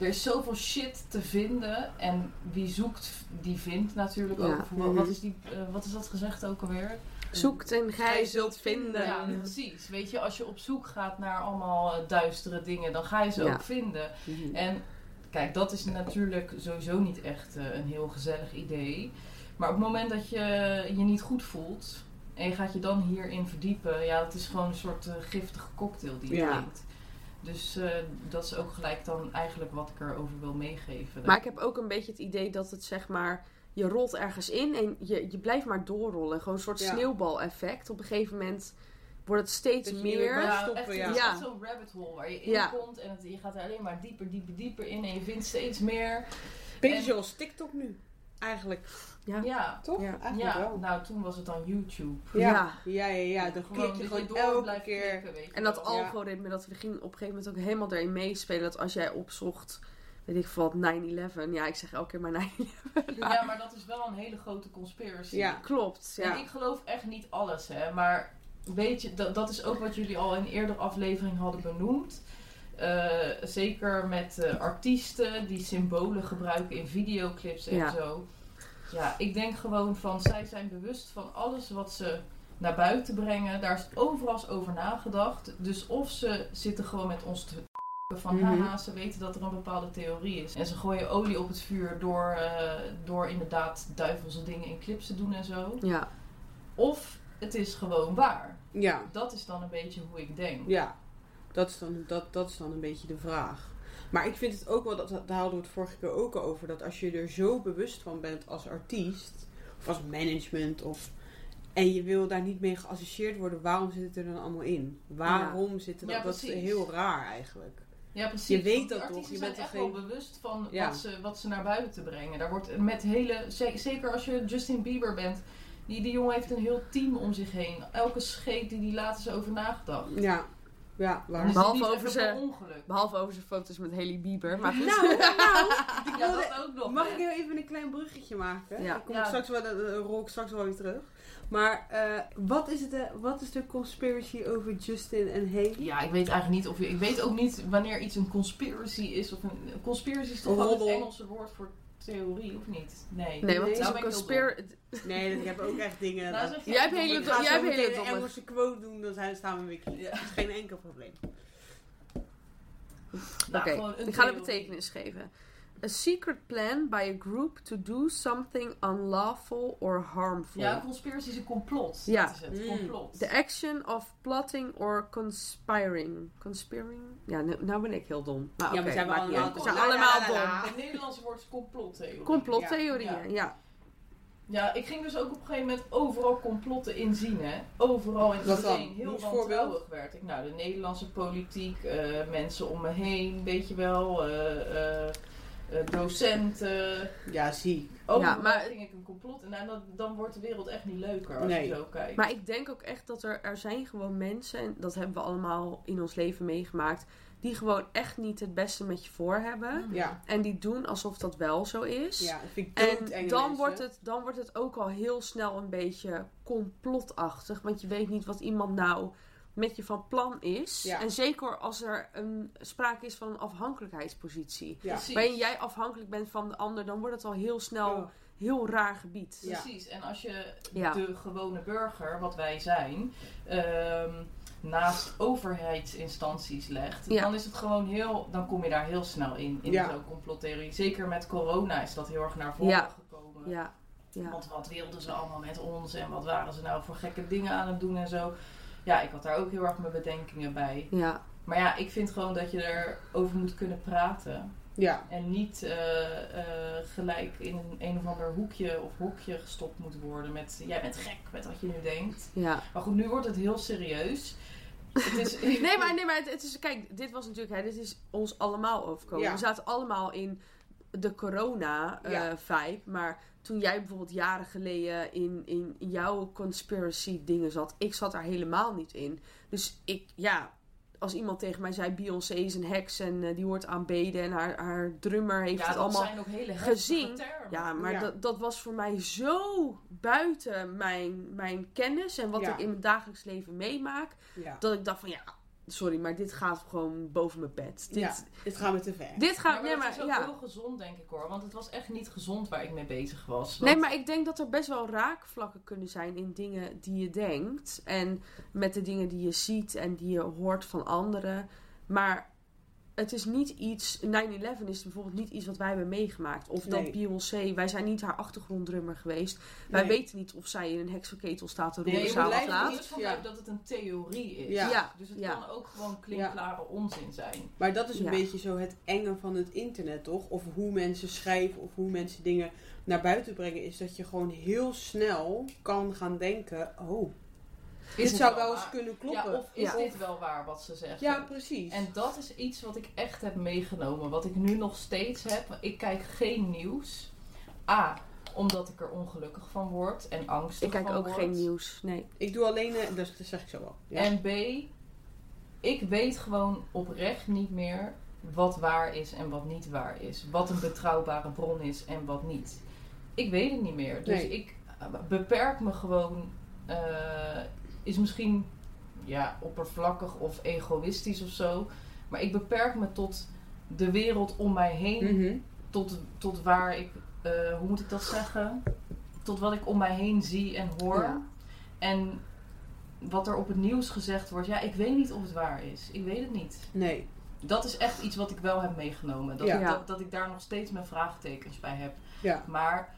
C: Er is zoveel shit te vinden en wie zoekt, die vindt natuurlijk
B: Ja.
C: ook. Bijvoorbeeld,
A: Mhm.
C: Wat is, die, eh, wat is dat gezegd ook alweer?
B: Zoekt en gij zult vinden.
C: Ja, precies. Weet je, als je op zoek gaat naar allemaal eh, duistere dingen, dan ga je ze
B: Ja.
C: ook vinden.
A: Mhm.
C: En kijk, dat is natuurlijk sowieso niet echt eh, een heel gezellig idee. Maar op het moment dat je je niet goed voelt en je gaat je dan hierin verdiepen, ja, het is gewoon een soort eh, giftige cocktail die je
A: Ja.
C: drinkt. Dus eh, dat is ook gelijk dan eigenlijk wat ik erover wil meegeven.
B: Maar ik heb ook een beetje het idee dat het zeg maar. Je rolt ergens in en je, je blijft maar doorrollen. Gewoon een soort
A: Ja.
B: sneeuwbal-effect. Op een gegeven moment wordt het steeds
A: Dat je
B: meer.
A: weer-
C: Ja,
A: stoppen,
C: echt,
A: ja.
C: Het is
B: Ja.
C: echt zo'n rabbit hole waar je in
B: Ja.
C: komt en het, je gaat er alleen maar dieper, dieper, dieper in en je vindt steeds meer.
A: Beetje
C: En-
A: zoals TikTok nu. Eigenlijk.
B: Ja.
C: Ja,
A: Toch?
B: Ja.
A: Eigenlijk
C: ja.
A: wel.
C: nou toen was het dan YouTube.
A: Ja.
B: Ja.
A: Ja, ja, ja. Dan klik
C: dat
A: je gewoon
C: door
A: elke
C: blijft
A: keer.
C: klikken, weet je
B: En dat
C: wel.
A: al-
B: algoritme, dat we gingen op een gegeven moment ook helemaal erin meespelen. Dat als jij opzocht, weet ik veel wat, 9-11. Ja, ik zeg elke keer maar 9
C: Ja, maar dat is wel een hele grote conspiracy.
A: Ja.
B: [LAUGHS] Klopt, ja.
C: En ik geloof echt niet alles, hè. Maar weet je, dat, dat is ook wat jullie al in eerder aflevering hadden benoemd. Eh, zeker met eh, artiesten die symbolen gebruiken in videoclips en
B: Ja.
C: zo. Ja, ik denk gewoon van, zij zijn bewust van alles wat ze naar buiten brengen. Daar is overal over nagedacht. Dus of ze zitten gewoon met ons te [LAUGHS] van
A: Mhm.
C: haha, ze weten dat er een bepaalde theorie is. En ze gooien olie op het vuur door, eh, door inderdaad duivelse dingen in clips te doen en zo.
B: Ja,
C: Of het is gewoon waar.
A: Ja,
C: Dat is dan een beetje hoe ik denk.
A: ja. Dat is, dan, dat, dat is dan een beetje de vraag. Maar ik vind het ook wel, dat, daar hadden we het vorige keer ook al over, dat als je er zo bewust van bent als artiest, of als management, of, en je wil daar niet mee geassocieerd worden, waarom zit het er dan allemaal in? Waarom zit er dat?
C: Ja,
A: dat is
C: precies.
A: heel raar eigenlijk.
C: Ja, precies.
A: Je weet
C: Want die
A: dat toch,
C: artiesten
A: je
C: zijn
A: bent
C: echt
A: toch geen-
C: wel bewust van
A: Ja.
C: wat, ze, wat ze naar buiten brengen. Daar wordt met hele, ze- zeker als je Justin Bieber bent, die, die jongen heeft een heel team om zich heen. Elke scheet die die laten ze over nagedacht.
A: Ja, ja,
C: Dus
A: waar.
C: het is
B: Behalve
C: niet
B: over
C: even
B: ze-
C: per ongeluk.
B: behalve over zijn foto's met Haley Bieber. Maar goed.
A: Nou, nou, ik
C: Ja,
A: wilde-
C: dat ook nog.
A: Mag
C: hè.
A: ik heel even een klein bruggetje maken?
B: Ja.
A: Ik kom
C: Ja.
A: straks wel, eh, rol ik straks wel weer terug. Maar eh, wat, is de, wat is de conspiracy over Justin en Haley?
C: Ja, ik weet eigenlijk niet of je, ik weet ook niet wanneer iets een conspiracy is of een, een conspiracy is toch
A: Een
C: wel het
A: roddel.
C: Engelse woord voor theorie of niet? Nee.
B: Nee, want het is
C: Nou
B: een
C: ben ik heel
B: conspir...
A: Nee, ik heb ook echt dingen.
C: Nou,
A: dat-
C: zeg je-
B: Jij hebt hele
A: ik
B: jij
A: ga
B: hebt
A: zo
B: hele
A: meteen een
B: domme-
A: Engelse quote doen, dan zijn- staan we weer klaar.
C: Ja.
A: Dat is geen enkel probleem.
C: Nou,
B: Oké,
C: gewoon een
B: ik ga de
C: theorie.
B: betekenis geven. A secret plan by a group to do something unlawful or harmful.
C: Ja, een conspiracy is een complot.
B: Ja.
C: Dat is het,
A: Mm.
C: complot.
B: The action of plotting or conspiring. Conspiring? Ja, nu, nou ben ik heel dom. Maar oké, maakt niet uit.
C: allemaal
B: we zijn
C: dom.
B: allemaal
A: La, la, la,
B: dom.
A: la.
C: Het Nederlandse woord is complottheorie.
B: Complottheorieën,
C: Ja.
B: ja.
C: ja, ik ging dus ook op een gegeven moment overal complotten inzien, hè. Overal in
A: Wat dan?
C: iedereen. Heel
A: Noem eens voorbeeld.
C: wantrouwig werd ik. Nou, de Nederlandse politiek, eh, mensen om me heen, weet je wel. eh, eh, eh, docenten,
A: Ja, zie.
C: Oh,
B: Ja,
C: ja, maar
B: maar-
C: ging ik een complot. En dan, dan wordt de wereld echt niet leuker als
A: Nee.
C: je zo kijkt.
B: Maar ik denk ook echt dat er, er zijn gewoon mensen, en dat hebben we allemaal in ons leven meegemaakt, die gewoon echt niet het beste met je voor hebben.
A: Ja,
B: En die doen alsof dat wel zo is.
A: ja dat vind ik doodenge
B: En dan
A: mensen.
B: wordt, het, dan wordt het ook al heel snel een beetje complotachtig. Want je weet niet wat iemand nou met je van plan is.
A: Ja.
B: En zeker als er een sprake is van een afhankelijkheidspositie.
A: Ja.
C: Precies.
B: Waarin jij afhankelijk bent van de ander, dan wordt het al heel snel
A: Oh,
B: heel raar gebied.
A: Ja.
C: Precies, en als je
B: Ja.
C: de gewone burger, wat wij zijn, ehm, naast overheidsinstanties legt,
B: Ja.
C: dan is het gewoon heel, dan kom je daar heel snel in, in
A: Ja.
C: zo'n complottheorie. Zeker met corona is dat heel erg naar voren
B: Ja.
C: gekomen.
B: Ja. ja.
C: Want wat wilden ze allemaal met ons en wat waren ze nou voor gekke dingen aan het doen en zo. Ja, ik had daar ook heel erg mijn bedenkingen bij.
B: Ja.
C: Maar ja, ik vind gewoon dat je erover moet kunnen praten.
A: Ja.
C: En niet eh, eh, gelijk in een, een of ander hoekje of hokje gestopt moet worden met jij bent gek met wat je nu denkt.
B: ja.
C: Maar goed, nu wordt het heel serieus. Het
B: [LAUGHS]
C: is,
B: Nee, maar, nee, maar het, het is, kijk, dit was natuurlijk, hè, dit is ons allemaal overkomen.
A: Ja.
B: We zaten allemaal in de
A: Ja.
B: corona-vibe. Maar toen jij bijvoorbeeld jaren geleden in, in jouw conspiracy-dingen zat, ik zat daar helemaal niet in. Dus ik, ja, als iemand tegen mij zei: Beyoncé is een heks en eh, die wordt aanbeden en haar, haar drummer heeft
C: ja,
B: het
C: dat
B: allemaal.
C: zijn ook hele
B: gezien.
C: heftige termen.
B: Ja, maar
A: Ja.
B: Dat, dat was voor mij zo buiten mijn, mijn kennis en wat
A: Ja.
B: ik in mijn dagelijks leven meemaak.
A: ja.
B: Dat ik dacht van ja, sorry, maar dit gaat gewoon boven mijn bed. Dit,
A: Ja. Dit gaan we te ver.
B: dit
C: Ja,
B: gaat.
C: maar
B: nee,
C: dat
B: maar,
C: is ook
B: ja.
C: heel gezond, denk ik hoor. Want het was echt niet gezond waar ik mee bezig was.
B: nee,
C: Want-
B: maar ik denk dat er best wel raakvlakken kunnen zijn in dingen die je denkt. En met de dingen die je ziet en die je hoort van anderen. Maar het is niet iets. 9-11 is bijvoorbeeld niet iets wat wij hebben meegemaakt. Of
A: Nee.
B: dat Beyoncé. Wij zijn niet haar achtergronddrummer geweest. Wij
A: Nee.
B: weten niet of zij in een heksenketel staat te
C: Nee,
B: roepen
C: je
A: zou
C: blijft
B: s'avonds
A: het
B: laat.
C: er
A: niet-
C: bewust van
A: Ja.
C: blijven dat het een theorie is.
A: Ja.
B: Ja,
C: Dus het
B: ja.
C: kan ook gewoon klinkklare onzin zijn.
A: Maar dat is een
B: Ja.
A: beetje zo het enge van het internet, toch? Of hoe mensen schrijven of hoe mensen dingen naar buiten brengen, is dat je gewoon heel snel kan gaan denken: oh, dit
C: het
A: zou wel eens
C: waar?
A: kunnen kloppen.
C: Ja, of is
B: Ja.
C: dit wel waar wat ze zeggen?
A: Ja, precies.
C: En dat is iets wat ik echt heb meegenomen. Wat ik nu nog steeds heb. Ik kijk geen nieuws. A, omdat ik er ongelukkig van word en angstig
B: Ik kijk
C: van
B: ook
C: word.
B: geen nieuws. Nee.
A: Ik doe alleen, eh, dat dat zeg ik zo wel. Ja.
C: En B, ik weet gewoon oprecht niet meer wat waar is en wat niet waar is. Wat een betrouwbare bron is en wat niet. Ik weet het niet meer. Dus
A: Nee.
C: ik eh, beperk me gewoon. eh, is misschien ja, oppervlakkig of egoïstisch of zo. Maar ik beperk me tot de wereld om mij heen.
A: Mhm.
C: Tot, tot waar ik, eh, hoe moet ik dat zeggen? Tot wat ik om mij heen zie en hoor.
B: Ja.
C: En wat er op het nieuws gezegd wordt, ja, ik weet niet of het waar is. Ik weet het niet.
A: Nee.
C: Dat is echt iets wat ik wel heb meegenomen. Dat,
A: Ja.
C: ik, dat, dat ik daar nog steeds mijn vraagtekens bij heb.
A: Ja.
C: Maar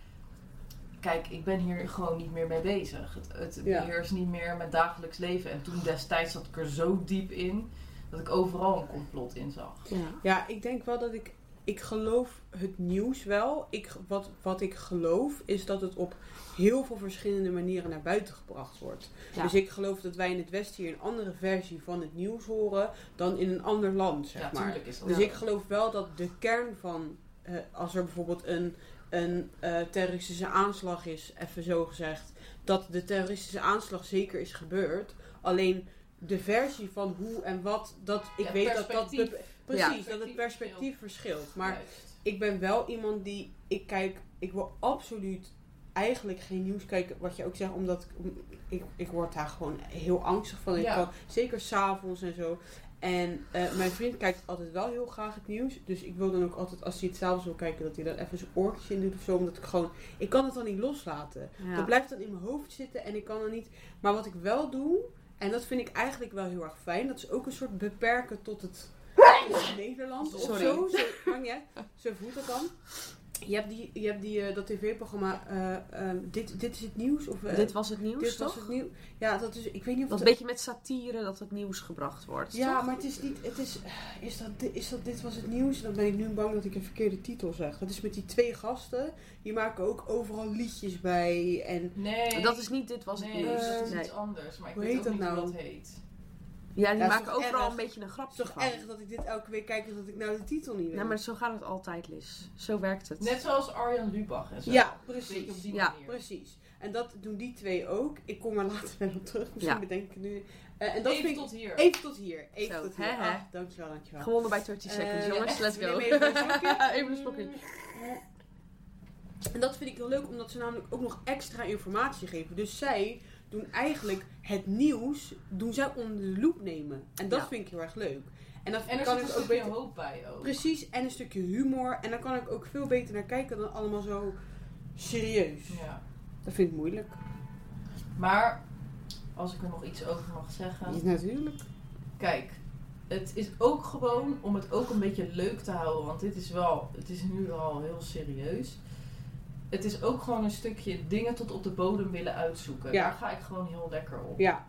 C: kijk, ik ben hier gewoon niet meer mee bezig. Het, het
A: Ja.
C: beheerst niet meer mijn dagelijks leven. En toen destijds zat ik er zo diep in dat ik overal een complot in zag.
B: Ja.
A: Ja, ik denk wel dat ik. Ik geloof het nieuws wel. Ik, wat, wat ik geloof is dat het op heel veel verschillende manieren naar buiten gebracht wordt.
B: Ja.
A: Dus ik geloof dat wij in het Westen hier een andere versie van het nieuws horen dan in een ander land, zeg
C: ja,
A: maar.
C: tuurlijk is dat.
A: Dus
C: zo.
A: ik geloof wel dat de kern van, eh, als er bijvoorbeeld een, een eh, terroristische aanslag is, even zo gezegd, dat de terroristische aanslag zeker is gebeurd. Alleen de versie van hoe en wat, dat ik
C: Ja,
A: weet dat dat.
C: perspectief.
A: bep- Precies, dat het
C: Perspectief
A: perspectief verschilt. Maar
C: Juist.
A: ik ben wel iemand die. Ik kijk. Ik wil absoluut eigenlijk geen nieuws kijken. Wat je ook zegt, omdat ik. Ik, ik word daar gewoon heel angstig van. Ik
C: Ja.
A: kan, zeker s'avonds en zo. En eh, mijn vriend kijkt altijd wel heel graag het nieuws. Dus ik wil dan ook altijd, als hij het s'avonds wil kijken, dat hij dan even zijn oortjes in doet of zo. Omdat ik gewoon. Ik kan het dan niet loslaten. Dat blijft dan in mijn hoofd zitten en ik kan er niet. Maar wat ik wel doe, en dat vind ik eigenlijk wel heel erg fijn, dat is ook een soort beperken tot het Nederland of
B: Sorry.
A: zo. zo maakt niet uit. Zo voelt dat dan. Je hebt, die, je hebt die, eh, dat tv-programma, eh, ehm, dit, dit is het nieuws? Of, eh,
B: Dit was het nieuws,
A: dit
B: toch?
A: was het nieuws. Ja, dat is, ik weet niet of
B: Dat
A: het-
B: beetje met satire dat het nieuws gebracht wordt.
A: Ja,
B: toch?
A: maar het is niet. Het is, is, dat, di- is dat dit was het nieuws? Dan ben ik nu bang dat ik een verkeerde titel zeg. Dat is met die twee gasten. Die maken ook overal liedjes bij. En
C: Nee.
B: Dat is niet dit was het
C: nee,
B: nieuws.
C: dat is
A: Eh,
B: Nee.
C: iets anders. Maar ik
A: Hoe
C: weet
A: heet
C: ook
A: dat
C: niet
A: nou?
C: hoe dat heet.
B: Ja, die
A: Ja, is
B: maken
A: toch
B: overal
A: erg?
B: een beetje een
A: het
B: grapje
A: is toch
B: van.
A: erg dat ik dit elke week kijk en dat ik nou de titel niet weet.
B: Ja, maar zo gaat het altijd, Liz. Zo werkt het.
C: Net zoals Arjan Lubach en zo.
A: Ja,
C: Weet je, op
A: precies.
C: die
B: Ja.
C: manier.
A: Precies. En dat doen die twee ook. Ik kom er later wel op terug. Misschien
B: Ja.
A: bedenk ik het nu. Eh, en dat
C: Even
A: vind ik...
C: tot hier.
A: Even tot hier. Even
B: Zo,
A: tot hier.
B: hè, hè.
A: Ah, dankjewel, dankjewel.
B: Gewonnen bij 30 seconds,
A: Eh,
B: jongens.
A: echt,
B: Let's
A: wil je
B: go.
A: me
B: [LAUGHS]
A: even een slokje?
B: Even een slokje.
A: En dat vind ik heel leuk, omdat ze namelijk ook nog extra informatie geven. Dus zij doen eigenlijk het nieuws doen zij onder de loep nemen. En dat
B: Ja.
A: vind ik heel erg leuk. En dat
C: En er
A: kan
C: zit een
A: ik ook
C: stukje
A: beter.
C: hoop bij ook.
A: Precies, en een stukje humor. En daar kan ik ook veel beter naar kijken dan allemaal zo serieus.
C: Ja.
A: Dat vind ik moeilijk.
C: Maar, als ik er nog iets over mag zeggen.
A: natuurlijk.
C: Kijk, het is ook gewoon om het ook een beetje leuk te houden. Want dit is wel, het is nu al heel serieus. Het is ook gewoon een stukje dingen tot op de bodem willen uitzoeken.
A: Ja.
C: Daar ga ik gewoon heel lekker op.
A: Ja,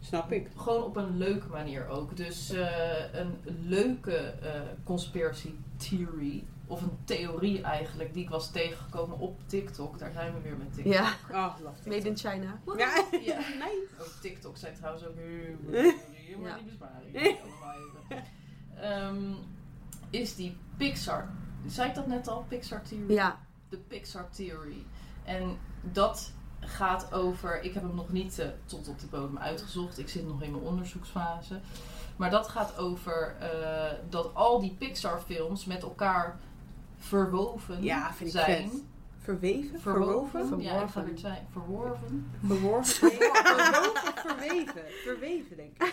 A: snap ik.
C: Gewoon op een leuke manier ook. Dus eh, een leuke eh conspiracy theory. Of een theorie eigenlijk, die ik was tegengekomen op TikTok. Daar zijn we weer met TikTok.
B: Ja,
C: Ah,
A: Oh, lach.
B: made in China.
A: Ja,
C: Ja.
A: nee.
C: Ook TikTok zijn trouwens ook heel veel maar die besparen. jullie allemaal even. Ehm, is die Pixar. Zei ik dat net al? Pixar Theory?
B: Ja,
C: De Pixar Theory. En dat gaat over. Ik heb hem nog niet eh, tot op de bodem uitgezocht. Ik zit nog in mijn onderzoeksfase. Maar dat gaat over eh, dat al die Pixar films met elkaar verwoven
A: Ja, vind ik
C: zijn.
A: vet. Verweven? Verwoven?
C: Verwoven? Ja, ik ga
B: Verworven.
C: weer zijn. Verworven.
A: [LAUGHS] Verworven? Verwoven? Verweven? Verweven, denk
C: [LAUGHS]
A: ik.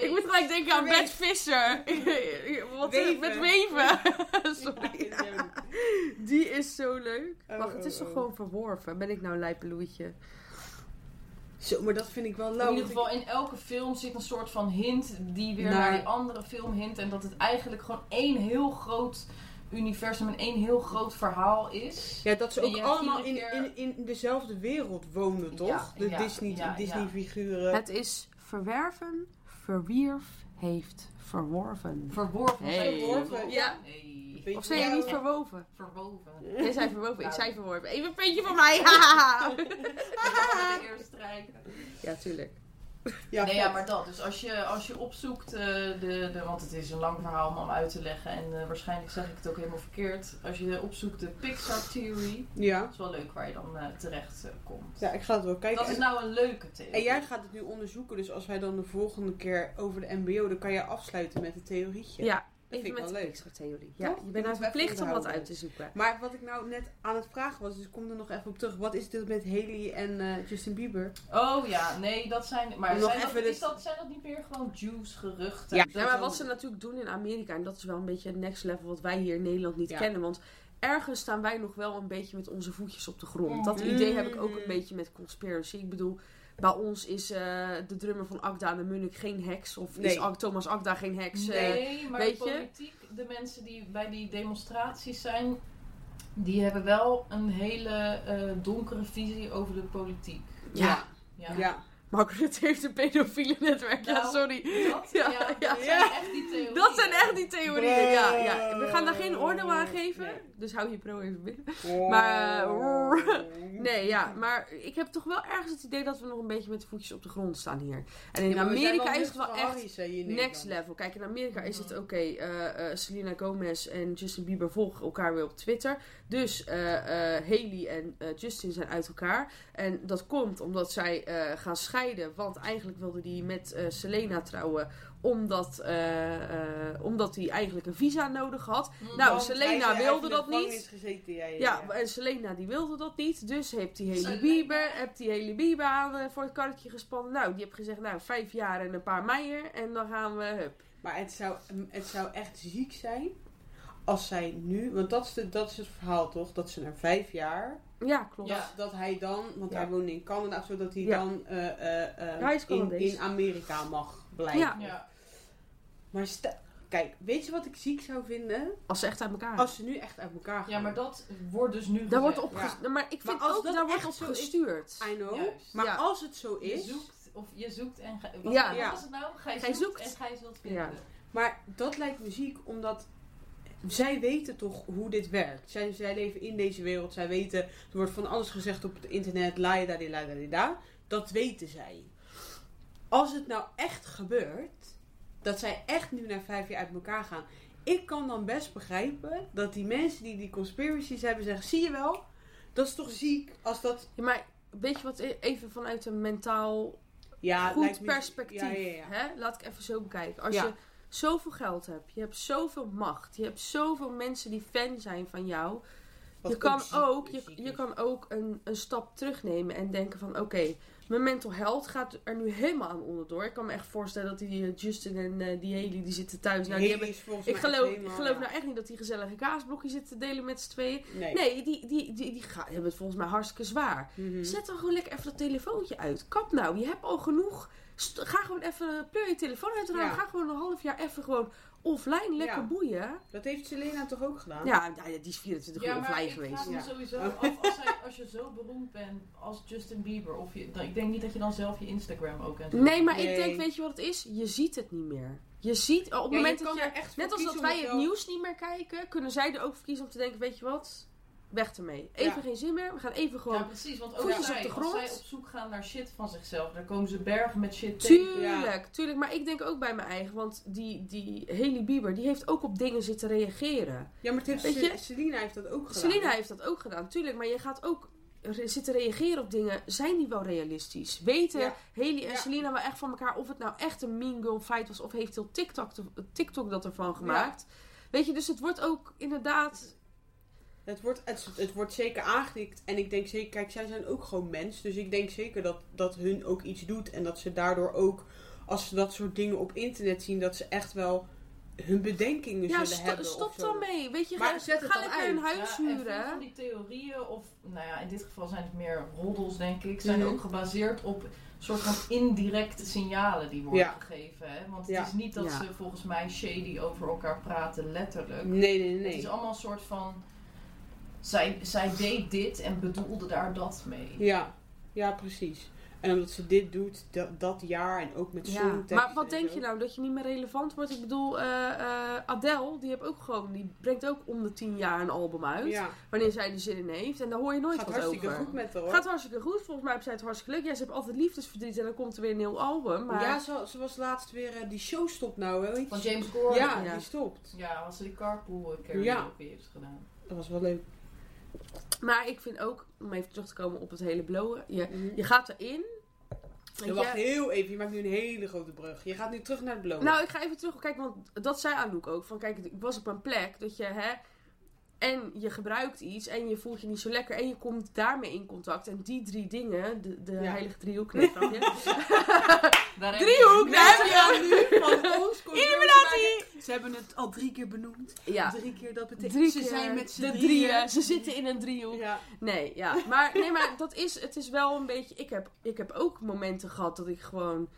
B: Ik moet gelijk denken aan
A: Weven.
B: Brad Visser. [LAUGHS] Wat
A: Weven.
B: met weven. [LAUGHS] Sorry.
A: Ja.
B: Die is zo leuk.
A: Oh,
B: Wacht, het is
A: oh,
B: toch
A: oh.
B: gewoon verworven? Ben ik nou een lijpeloetje?
A: Zo, maar dat vind ik wel leuk.
C: In ieder geval, in elke film zit een soort van hint die weer
A: Naar-
C: naar, die andere film hint. En dat het eigenlijk gewoon één heel groot universum en één heel groot verhaal is.
A: Ja, dat ze ook
C: Ja,
A: allemaal in,
C: iedere
A: in, in dezelfde wereld woonden, toch?
C: Ja,
A: de
C: ja,
A: Disney,
C: ja, ja.
A: Disney-figuren.
B: Het is verwerven, verwierf, heeft verworven.
C: Verworven.
B: Hey.
C: Zijn verworven?
B: Ja.
C: Nee.
A: Weet
B: Of zijn jullie
A: wel-
B: niet verwoven? Nou.
C: Verwoven.
A: [LAUGHS]
B: Jij zei verwoven, ik
C: Ja.
B: zei verworven. Even een puntje voor mij. [LAUGHS] haha.
C: Dat gaan we de eerste strijken.
B: ja, tuurlijk.
A: Ja,
C: Nee, ja,
A: vet.
C: maar dat. Dus als je, als je opzoekt, eh, de, de, want het is een lang verhaal om al uit te leggen. En eh, waarschijnlijk zeg ik het ook helemaal verkeerd. Als je opzoekt de Pixar Theory,
A: ja.
C: dat is wel leuk waar je dan eh, terecht eh, komt.
A: ja, ik ga het wel kijken.
C: Dat is nou een leuke theorie.
A: En jij gaat het nu onderzoeken, dus als wij dan de volgende keer over de MBO, dan kan jij afsluiten met een theorietje.
B: Ja,
A: vind ik
B: even met
A: wel
B: de
A: leuk.
B: Pixar-theorie. Ja,
A: Toch?
B: je
A: Die
B: bent nou
A: moeten we
B: verplicht
A: even
B: om dat
A: onderhouden.
B: uit te zoeken.
A: Maar wat ik nou net aan het vragen was, dus ik kom er nog even op terug. Wat is dit met Haley en eh, Justin Bieber?
C: Oh ja, nee, dat zijn. Maar
A: Nog
C: zijn,
A: even
C: dat,
A: de-
C: is dat, zijn dat niet meer gewoon juice-geruchten?
A: Ja.
B: Ja, maar wat ze natuurlijk doen in Amerika, en dat is wel een beetje het next level wat wij hier in Nederland niet
A: Ja.
B: kennen. Want ergens staan wij nog wel een beetje met onze voetjes op de grond. Dat
C: Mhm.
B: idee heb ik ook een beetje met conspiracy. Ik bedoel, bij ons is eh, de drummer van Akda en de Munnik geen heks. Of is
A: Nee.
B: Ak- Thomas Akda geen heks. eh.
C: Nee, maar
B: weet
C: de
B: je?
C: politiek, de mensen die bij die demonstraties zijn, die hebben wel een hele eh, donkere visie over de politiek.
B: ja,
C: Ja.
A: Ja.
B: Mark Rutte heeft een pedofiele netwerk. ja,
C: Nou,
B: sorry.
C: Dat, ja,
B: [LAUGHS] Ja,
C: dat
A: ja.
C: zijn echt die theorieën.
B: Dat zijn echt die theorieën.
A: Bruh.
B: Ja, ja. We gaan daar geen oordeel aan geven.
A: Nee.
B: Dus hou je pro even binnen. [LAUGHS] Maar, eh, [LAUGHS] Nee, ja, maar ik heb toch wel ergens het idee dat we nog een beetje met de voetjes op de grond staan hier. En in
A: Ja, maar we zijn
B: Amerika is het wel
A: nuchter
B: echt
A: Harry's, hè, hier in
B: next
A: Nederland.
B: level. Kijk, in Amerika is het oké. eh, eh, Selena Gomez en Justin Bieber volgen elkaar weer op Twitter. Dus eh, eh, Haley en eh, Justin zijn uit elkaar. En dat komt omdat zij eh, gaan scheiden. Want eigenlijk wilde die met eh, Selena trouwen. Omdat hij omdat die eigenlijk een visa nodig had.
C: Mm,
B: Nou,
A: Want
B: Selena
A: hij zei, hij
B: wilde
A: heeft
B: dat
A: in de
B: niet.
A: gevangenis Gezeten, ja, ja,
B: Ja,
A: ja.
B: en Selena die wilde dat niet. Dus heeft die hele
C: Selena.
B: Bieber, heeft die hele Bieber aan, eh, voor het karretje gespannen. Nou, die heeft gezegd, nou, vijf jaar en een paar meier. En dan gaan we, hup.
A: Maar het zou, het zou echt ziek zijn als zij nu, want dat is, de, dat is het verhaal toch, dat ze na vijf jaar,
B: Ja, klopt.
C: Ja.
A: dat hij dan, want
B: Ja.
A: hij woonde in Canada, zodat hij
B: Ja.
A: dan eh, eh, eh,
B: Hij is
A: in,
B: Canadees.
A: in Amerika mag blijven.
B: Ja.
C: Ja.
A: Maar stel- kijk, weet je wat ik ziek zou vinden?
B: Als ze echt uit elkaar
A: Als ze nu echt uit elkaar gaan.
C: ja, maar dat wordt dus nu.
B: Daar wordt
C: gezegd.
B: op gestuurd. Maar ik vind
A: Maar als
B: ook,
A: dat
B: daar wordt op
A: echt zo is-
B: gestuurd.
A: I know.
C: Juist.
A: Maar
B: Ja.
A: als het zo
C: Je
A: is,
C: zoekt, of je zoekt en ga, wat,
B: Ja.
C: wat
A: Ja.
C: was het nou? Gij,
B: Gij
C: zoekt,
B: zoekt.
C: en gij zult
B: Ja.
C: vinden.
A: Maar dat lijkt me ziek, omdat zij weten toch hoe dit werkt. Zij, zij leven in deze wereld, zij weten, er wordt van alles gezegd op het internet, laida di laida di da. Dat weten zij. Als het nou echt gebeurt, dat zij echt nu na vijf jaar uit elkaar gaan. Ik kan dan best begrijpen dat die mensen die die conspiracies hebben zeggen, zie je wel, dat is toch ziek als dat...
B: Ja, maar weet je wat, e- even vanuit een mentaal
A: Ja, lijkt
B: goed
A: me-
B: perspectief.
A: Ja, ja, ja.
B: Hè? Laat ik even zo bekijken. Als
A: Ja.
B: je zoveel geld hebt, je hebt zoveel macht, je hebt zoveel mensen die fan zijn van jou.
A: Wat
B: je kan,
A: ziek-
B: ook, je,
A: ziek
B: je
A: is.
B: kan ook een, een stap terugnemen en denken van... Oké, mijn mental health gaat er nu helemaal aan onderdoor. Ik kan me echt voorstellen dat die eh, Justin en eh, die Haley, die zitten thuis. Nou,
A: Haley
B: die hebben,
A: is volgens
B: ik
A: mij
B: geloof,
A: helemaal-
B: ik geloof nou echt niet dat die gezellige kaasblokjes zitten te delen met z'n tweeën.
A: Nee.
B: Nee, die, die, die, die gaan, hebben het volgens mij hartstikke zwaar.
A: Mhm.
B: Zet dan gewoon lekker even dat telefoontje uit. Kap nou, je hebt al genoeg. St- ga gewoon even, pleur je telefoon uit. en
A: Ja.
B: Ga gewoon een half jaar even gewoon offline lekker
A: Ja.
B: boeien.
A: Dat heeft Selena toch ook gedaan?
B: Ja, nou ja, die is 24 uur
C: Ja, maar
B: offline
C: ik
B: geweest.
C: vraag me
A: Ja.
C: sowieso af,
B: [LAUGHS]
C: als, hij, als je zo beroemd bent als Justin Bieber, of je, dan, ik denk niet dat je dan zelf je Instagram ook en zo.
B: Nee, maar
A: Nee.
B: ik denk, weet je wat het is? Je ziet het niet meer. Je ziet, op het
A: Ja,
B: moment
A: je
B: dat
A: kan
B: je...
A: er echt voor
B: Net als dat
A: kiezen
B: wij
A: om
B: het
A: wel-
B: nieuws niet meer kijken, kunnen zij er ook voor kiezen om te denken, weet je wat? Weg ermee. Even
A: Ja.
B: geen zin meer, we gaan even gewoon...
C: Ja, precies, want ook
B: Voetjes
C: zij,
B: op de
C: als
B: grond.
C: zij op zoek gaan naar shit van zichzelf, dan komen ze bergen met shit tegen.
B: Tuurlijk, tuurlijk. Maar ik denk ook bij mijn eigen, want die, die Haley Bieber, die heeft ook op dingen zitten reageren.
A: Ja, maar het heeft
B: Weet
A: Se-
B: je-
A: Selena heeft dat ook gedaan.
B: Selena heeft dat ook gedaan, tuurlijk. Maar je gaat ook re- zitten reageren op dingen. Zijn die wel realistisch? Weten
A: Ja.
B: Haley en
A: Ja.
B: Selena wel echt van elkaar of het nou echt een mean girl fight was of heeft heel TikTok, te- TikTok dat ervan gemaakt? Weet je, dus het wordt ook
A: Dus
B: inderdaad...
A: Het wordt, het, het wordt zeker aangedikt. En ik denk zeker, kijk, zij zijn ook gewoon mens. Dus ik denk zeker dat, dat hun ook iets doet. En dat ze daardoor ook, als ze dat soort dingen op internet zien, dat ze echt wel hun bedenkingen
B: ja,
A: zullen
B: sto-
A: hebben. of
B: stop
A: zo.
B: dan mee. Weet je,
A: Maar
B: ga,
A: zet het
B: ga
A: dan
B: lekker een
A: uit.
B: huis
C: Ja, en veel van
B: huren.
C: die theorieën, of nou ja, in dit geval zijn het meer roddels, denk ik, zijn
A: Mhm.
C: ook gebaseerd op soort van indirecte signalen die worden
A: Ja.
C: gegeven. Hè? Want
A: Ja.
C: het is niet dat
B: Ja.
C: ze volgens mij shady over elkaar praten, letterlijk.
A: Nee, nee, nee.
C: Het is allemaal een soort van. Zij, zij deed dit en bedoelde daar dat mee.
A: Ja, ja, precies. En omdat ze dit doet, dat, dat jaar en ook met
B: Ja.
A: songtekst
B: Maar wat
A: en
B: denk
A: zo.
B: je nou? Dat je niet meer relevant wordt? Ik bedoel, eh, eh, Adele, die, heeft ook gewoon, die brengt ook om de tien jaar een album uit.
A: Ja,
B: Wanneer zij er zin in heeft. En daar hoor je nooit
A: gaat
B: wat
A: hartstikke
B: over.
A: goed met haar. hoor.
B: Gaat hartstikke goed. Volgens mij heeft zij het hartstikke leuk. Ja, ze heeft altijd liefdesverdriet en dan komt er weer een nieuw album. Maar
A: Ja, ze, ze was laatst weer, eh, die show stopt nou, hè, weet je?
C: Van James Corden.
A: ja,
B: Ja.
A: die stopt.
C: Ja, als ze die carpool een keer
A: Ja.
C: ook weer heeft gedaan.
A: Dat was wel leuk.
B: maar ik vind ook, om even terug te komen op het hele blowen. Je,
A: Mhm.
B: je gaat erin. Weet
A: Ja,
B: je-
A: wacht heel even, je maakt nu een hele grote brug. Je gaat nu terug naar het blowen.
B: nou, ik ga even terug. Kijk, want dat zei Anouk ook. Van kijk, ik was op een plek dat je hè. En je gebruikt iets en je voelt je niet zo lekker en je komt daarmee in contact. En die drie dingen, de, de
A: Ja.
B: heilige
A: [LAUGHS]
B: driehoek, nee, grapje.
C: Daar heb je-
B: driehoek, daar heb
A: Mensen
B: je
A: gaan nu
B: [LAUGHS]
A: van ons komt
B: Illuminati!
A: Ze hebben het al drie keer benoemd.
B: Ja,
A: Drie keer, dat betekent
B: drie
A: ze
B: keer
A: zijn met z'n
B: de
A: drieën.
B: drieën. Ze zitten in een driehoek.
A: Ja.
B: Nee, ja. Maar, nee, maar dat is, het is wel een beetje... Ik heb, ik heb ook momenten gehad dat ik gewoon...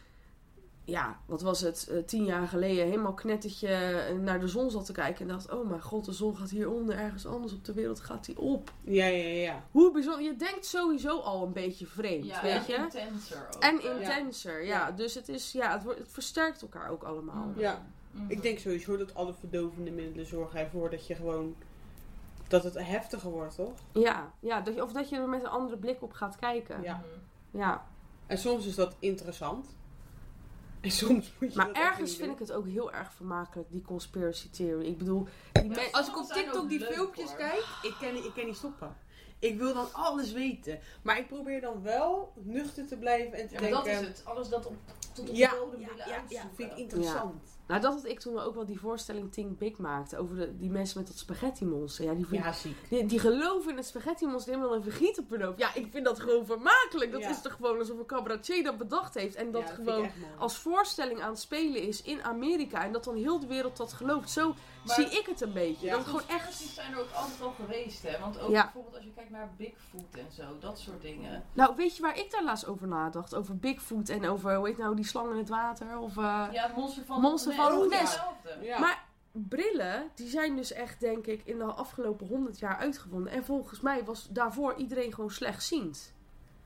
B: Ja, wat was het? eh, tien jaar geleden helemaal knettertje eh, naar de zon zat te kijken. En dacht, oh mijn god, de zon gaat hieronder. Ergens anders op de wereld gaat die op.
A: ja, ja, ja.
B: Hoe bijzonder. Je denkt sowieso al een beetje vreemd,
C: Ja,
B: weet
C: en
B: je?
C: intenser ook. eh,
B: En
C: hè.
B: intenser, ja. Dus het, is, ja, het, wordt, het versterkt elkaar ook allemaal.
C: Mm.
A: Ja.
C: Mhm.
A: Ik denk sowieso dat alle verdovende middelen zorgen ervoor dat je gewoon... Dat het heftiger wordt, toch?
B: Ja, ja dat je, of dat je er met een andere blik op gaat kijken.
A: Ja.
C: Mhm.
B: ja.
A: En soms is dat interessant. En soms moet je
B: Maar
A: dat echt
B: ergens
A: niet
B: vind
A: doen.
B: ik het ook heel erg vermakelijk, die conspiracy theory. Ik bedoel, die men-
C: soms
A: Als ik op
C: zijn
A: TikTok
C: ook
A: die
C: leuk,
A: filmpjes
C: hoor.
A: kijk, ik kan, ik kan niet stoppen. Ik wil dan alles weten. Maar ik probeer dan wel nuchter te blijven en te
C: Ja, maar
A: denken...
C: dat is het. Alles dat op, tot op de
A: eh, Ja,
C: bodem
A: ja,
C: willen
A: ja, ja,
C: uitzoeken.
A: dus vind ik interessant.
B: nou dat had ik toen ook wel die voorstelling Think Big maakte over de, die mensen met dat spaghetti monster. Ja, die,
A: Ja,
B: vond-
A: ziek.
B: die, die geloven in het spaghetti monster helemaal een vergiet op hun hoofd. Ja, ik vind dat gewoon vermakelijk. Dat
A: Ja.
B: is toch gewoon alsof een cabaretier dat bedacht heeft en dat
A: Ja, vind
B: gewoon
A: ik echt mooi.
B: als voorstelling aan het spelen is in Amerika en dat dan heel de wereld dat gelooft. Zo
C: Maar-
B: zie ik het een beetje.
A: Ja.
B: dat
C: Die
B: het gewoon
C: conspiracies
B: echt.
C: zijn er ook altijd al geweest, hè. Want ook
B: Ja.
C: bijvoorbeeld als je kijkt naar Bigfoot en zo, dat soort dingen.
B: Nou, weet je waar ik daar laatst over nadacht? Over Bigfoot en over, hoe heet nou, die slang in het water? Of, eh,
C: Ja, het monster van
B: Monster
C: Loch
B: van
A: Loch
C: Ness, dat is
A: Ness.
C: hetzelfde.
A: Ja.
B: Maar brillen, die zijn dus echt, denk ik, in de afgelopen 100 jaar uitgevonden. En volgens mij was daarvoor iedereen gewoon slechtziend.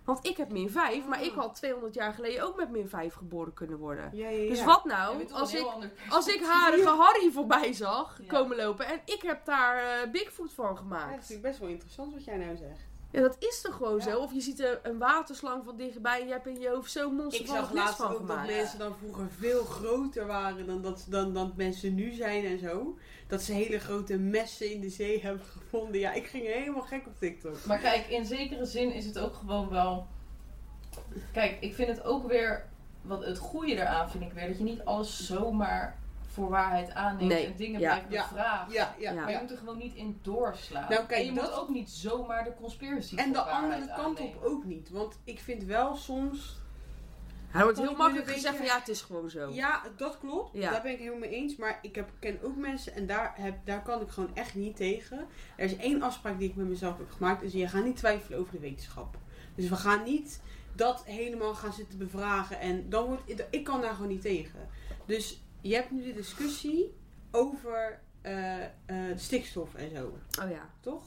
B: Want ik heb min 5, maar ik had 200 jaar geleden ook met min 5 geboren kunnen worden.
A: Ah. ja, ja, ja.
B: Dus wat
C: Je
B: nou
C: bent toch
B: als
C: een heel
B: ik,
C: ander
B: als ik harige Harry voorbij zag
C: Ja.
B: komen lopen en ik heb daar eh, Bigfoot van
A: Ja, dat
B: gemaakt?
A: is natuurlijk best wel interessant wat jij nou zegt.
B: Ja, dat is toch gewoon
C: Ja.
B: zo? Of je ziet eh, een waterslang van dichtbij en je hebt in je hoofd zo'n monster
A: Ik
B: van
A: zag
B: het nest
A: laatst
B: van
A: ook dat
B: gemaakt.
A: mensen dan vroeger veel groter waren dan dat, dan, dan mensen nu zijn en zo. Dat ze hele grote messen in de zee hebben gevonden. Ja, ik ging helemaal gek op TikTok.
C: Maar kijk, in zekere zin is het ook gewoon wel. Kijk, ik vind het ook weer. Wat het goede eraan vind ik weer. Dat je niet alles zomaar voor waarheid aanneemt
B: Nee,
C: en dingen
B: ja.
C: blijft
A: Ja.
C: bevragen.
A: Ja, ja,
B: Ja.
A: ja.
C: Maar je moet er gewoon niet in doorslaan.
A: Nou, kijk,
C: en je moet
A: dat-
C: ook niet zomaar de conspiracy
A: En de
C: voor waarheid
A: andere kant op
C: aannemen.
A: ook niet. Want ik vind wel soms...
B: Hij wordt
A: Kan
B: heel
A: ik nu een
B: makkelijk gezegd
A: beetje-
B: van ja, het is gewoon zo.
A: Ja, dat klopt.
B: Ja.
A: Daar ben ik het helemaal mee eens. Maar ik heb, ken ook mensen en daar, heb, daar kan ik gewoon echt niet tegen. Er is één afspraak die ik met mezelf heb gemaakt. Is je gaat niet twijfelen over de wetenschap. Dus we gaan niet dat helemaal gaan zitten bevragen. En dan wordt, ik kan daar gewoon niet tegen. Dus je hebt nu de discussie over eh, eh, stikstof en zo
B: Oh ja.
A: toch?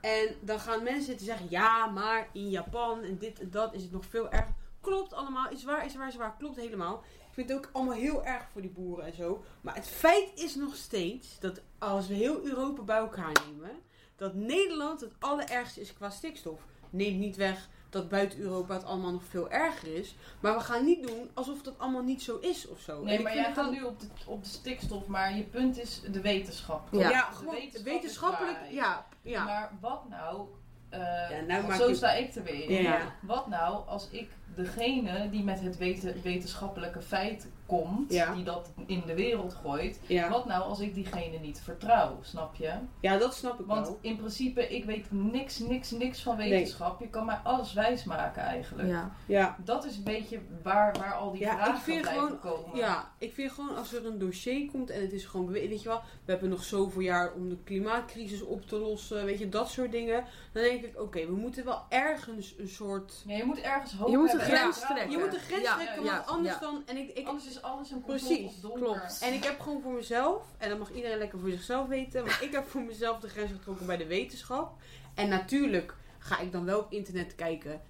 A: En dan gaan mensen zitten zeggen, ja, maar in Japan en dit en dat is het nog veel erger. Klopt allemaal, is waar, is waar, is waar, klopt helemaal. Ik vind het ook allemaal heel erg voor die boeren en zo. Maar het feit is nog steeds dat als we heel Europa bij elkaar nemen, dat Nederland het allerergste is qua stikstof. Neemt niet weg dat buiten Europa het allemaal nog veel erger is. Maar we gaan niet doen alsof dat allemaal niet zo is of zo. En
C: Nee,
A: ik
C: maar
A: vind
C: jij
A: het
C: gaat
A: dan-
C: nu op de, op de stikstof, maar je punt is de wetenschap.
B: Ja.
A: Ja,
C: De
A: gewoon
C: wetenschap is
A: wetenschappelijk,
C: waar.
A: ja, ja.
C: Maar wat nou, eh,
A: nou
C: want
A: maak
C: zo
A: je-
C: sta ik er weer in.
A: Ja.
C: Wat nou als ik degene die met het weten- wetenschappelijke feit komt,
A: Ja.
C: die dat in de wereld gooit,
A: Ja.
C: wat nou als ik diegene niet vertrouw, snap je?
A: ja, dat snap ik
C: Want
A: wel.
C: in principe, ik weet niks, niks, niks van
A: Nee.
C: wetenschap. Je kan mij alles wijsmaken eigenlijk.
B: ja.
A: Ja.
C: Dat is een beetje waar, waar al die
A: Ja,
C: vragen
A: ik vind
C: blijven
A: gewoon-
C: komen.
A: Ja, ik vind gewoon als er een dossier komt en het is gewoon, bewe- weet je wel, we hebben nog zoveel jaar om de klimaatcrisis op te lossen, weet je, dat soort dingen. Dan denk ik, oké, we moeten wel ergens een soort.
C: Ja, je moet ergens hoop
B: Je moet
C: hebben
A: een
C: en
A: grens
C: vertrouwen
A: Je
B: trekken.
A: moet
C: hebben.
A: de grens
B: Ja,
A: trekken,
C: ja,
A: want anders
B: ja.
A: dan. En ik, ik,
C: Anders is alles een complot
A: Precies,
C: of donker.
B: klopt.
A: en ik heb gewoon voor mezelf, en dat mag iedereen lekker voor zichzelf weten, maar ik heb voor mezelf de grens getrokken bij de wetenschap. En natuurlijk ga ik dan wel op internet kijken.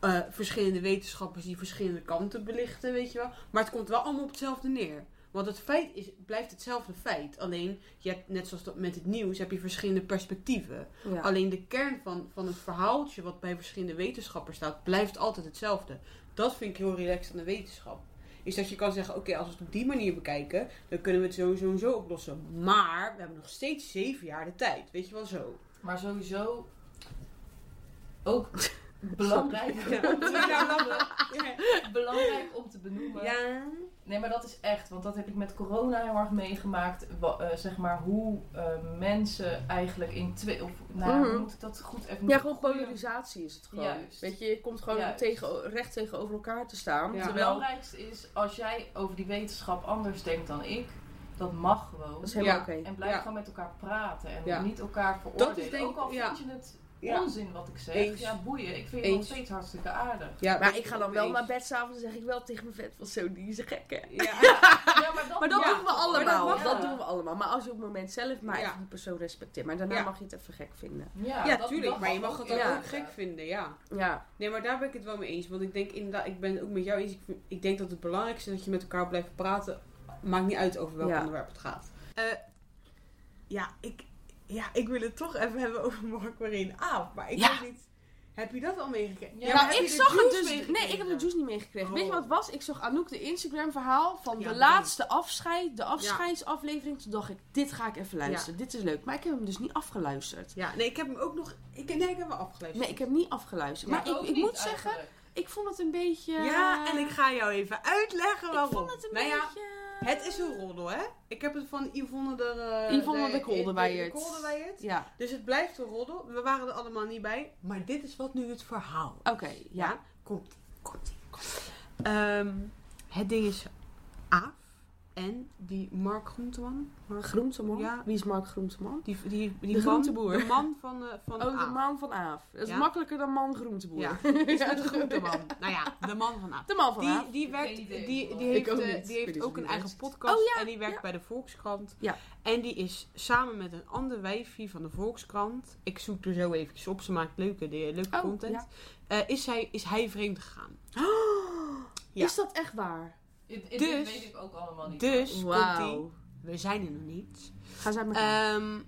A: eh, verschillende wetenschappers die verschillende kanten belichten, weet je wel. Maar het komt wel allemaal op hetzelfde neer. Want het feit is, blijft hetzelfde feit. Alleen, je hebt, net zoals dat met het nieuws, heb je verschillende perspectieven.
B: ja.
A: Alleen de kern van, van het verhaaltje wat bij verschillende wetenschappers staat, blijft altijd hetzelfde. Dat vind ik heel relaxed aan de wetenschap. Is dat je kan zeggen, oké, als we het op die manier bekijken, dan kunnen we het sowieso en zo oplossen. Maar we hebben nog steeds zeven jaar de tijd. Weet je wel zo.
C: Maar sowieso ook belangrijk, om te
A: Ja.
C: benoemen- [LAUGHS] belangrijk om te benoemen.
A: Ja.
C: Nee, maar dat is echt, want dat heb ik met corona heel erg meegemaakt. Wa- eh, zeg maar hoe eh, mensen eigenlijk in twee. Of, nou,
B: Mhm.
C: moet ik dat goed even.
B: Ja, gewoon polarisatie is het gewoon.
C: Juist.
B: Weet je, je komt gewoon
C: Juist.
B: tegen, recht tegenover elkaar te staan.
A: Ja.
C: Het
B: Terwijl,
C: belangrijkste is, als jij over die wetenschap anders denkt dan ik, dat mag gewoon.
B: dat is helemaal
A: Ja.
B: oké.
C: En blijf
A: Ja.
C: gewoon met elkaar praten en
A: Ja.
C: niet elkaar veroordelen.
A: denk ik-
C: Ook al
A: ja.
C: vind je het
A: Ja.
C: onzin wat ik zeg.
A: Eens.
C: Ja, boeien. Ik vind het nog
A: Eens.
C: steeds hartstikke aardig.
A: Ja,
B: Maar ik ga dan wel
A: eens.
B: naar bed s'avonds en zeg ik wel tegen mijn vet van zo, die is een gekke.
A: Ja.
C: [LAUGHS]
B: [LAUGHS]
C: Ja, maar dat,
B: Maar dat
C: ja.
B: doen we allemaal.
A: Maar
B: Dat,
A: dat mag- ja.
B: doen we allemaal. Maar als je op het moment zelf maar
A: Ja.
B: even die persoon respecteert. Maar daarna
A: Ja.
B: mag je het even gek vinden.
C: Ja,
A: Ja,
C: dat-
A: tuurlijk.
C: dat
A: Maar je mag het dan
B: ja.
A: ook gek vinden, ja.
B: Ja.
A: Nee, maar daar ben ik het wel mee eens. Want ik denk inderdaad, ik ben het ook met jou eens. Ik, vind- ik denk dat het belangrijkste is dat je met elkaar blijft praten. Maakt niet uit over welk
B: Ja.
A: onderwerp het gaat. ja, ik, ja, ik wil het toch even hebben over Mark Marine Aap. Maar ik
B: Ja.
A: weet niet... Heb je dat al meegekregen?
C: Ja.
B: nou,
A: heb
B: ik
A: je de
B: zag het
A: juice
B: dus.
A: meegekregen?
B: Nee, ik heb de juice niet meegekregen. Weet je
A: Oh.
B: wat het was? Ik zag Anouk de Instagram verhaal van
A: Ja,
B: de
A: leuk.
B: laatste afscheid. De afscheidsaflevering. Toen dacht ik, dit ga ik even luisteren. Dit is leuk. Maar ik heb hem dus niet afgeluisterd.
A: Ja, nee, ik heb hem ook nog... Ik, nee, ik heb hem afgeluisterd.
B: Nee, ik heb niet afgeluisterd.
A: Ja,
B: maar ik,
C: ook
B: ik
C: niet
B: moet zeggen,
C: eigenlijk.
B: ik vond het een beetje...
A: Ja, en ik ga jou even uitleggen
B: Ik
A: waarom.
B: vond het een
A: nou ja,
B: beetje...
A: het is een roddel, hè? Ik heb het van Yvonne de... eh,
B: Yvonne de Koldewijer.
A: De Koldewijer.
B: Ja,
A: Dus het blijft een roddel. We waren er allemaal niet bij. Maar dit is wat nu het verhaal.
B: oké. Oh, ja.
A: Komt. Komt. Ehm, het ding is Aaf en die Mark Groenteman. Mark,
B: Groenteman.
A: Ja.
B: Wie is Mark Groenteman?
A: die die, die
B: De
A: man,
B: groenteboer.
A: De man van, eh, van
B: [LAUGHS] Oh, de
A: Aaf.
B: man van Aaf. Dat is
A: Ja.
B: makkelijker dan man groenteboer. [LAUGHS]
A: Ja, is met Groenteman. nou ja, de man van Aaf.
B: De man van Aaf.
A: Die, die, werkt,
C: Geen idee.
A: die, die
C: Ik
A: heeft,
B: ook
A: eh,
B: niet.
A: die
B: Ik weet
A: heeft
B: niet
A: ook
B: wie
A: een
B: het
A: eigen
B: is.
A: podcast.
B: Oh, ja,
A: en die werkt
B: ja.
A: bij de Volkskrant.
B: Ja.
A: En die is samen met een ander wijfje van de Volkskrant. Ik zoek er zo even op. Ze maakt leuke, de, leuke
B: Oh,
A: content.
B: ja.
A: Eh, is, hij, is hij vreemd gegaan? Ja.
B: Is dat echt waar?
C: Dit- dit
A: Dus-
C: weet ik ook allemaal niet.
A: Dus komt
B: Wauw.
A: hij. We zijn er nog niet.
B: Gaan zij maar.
A: Ehm,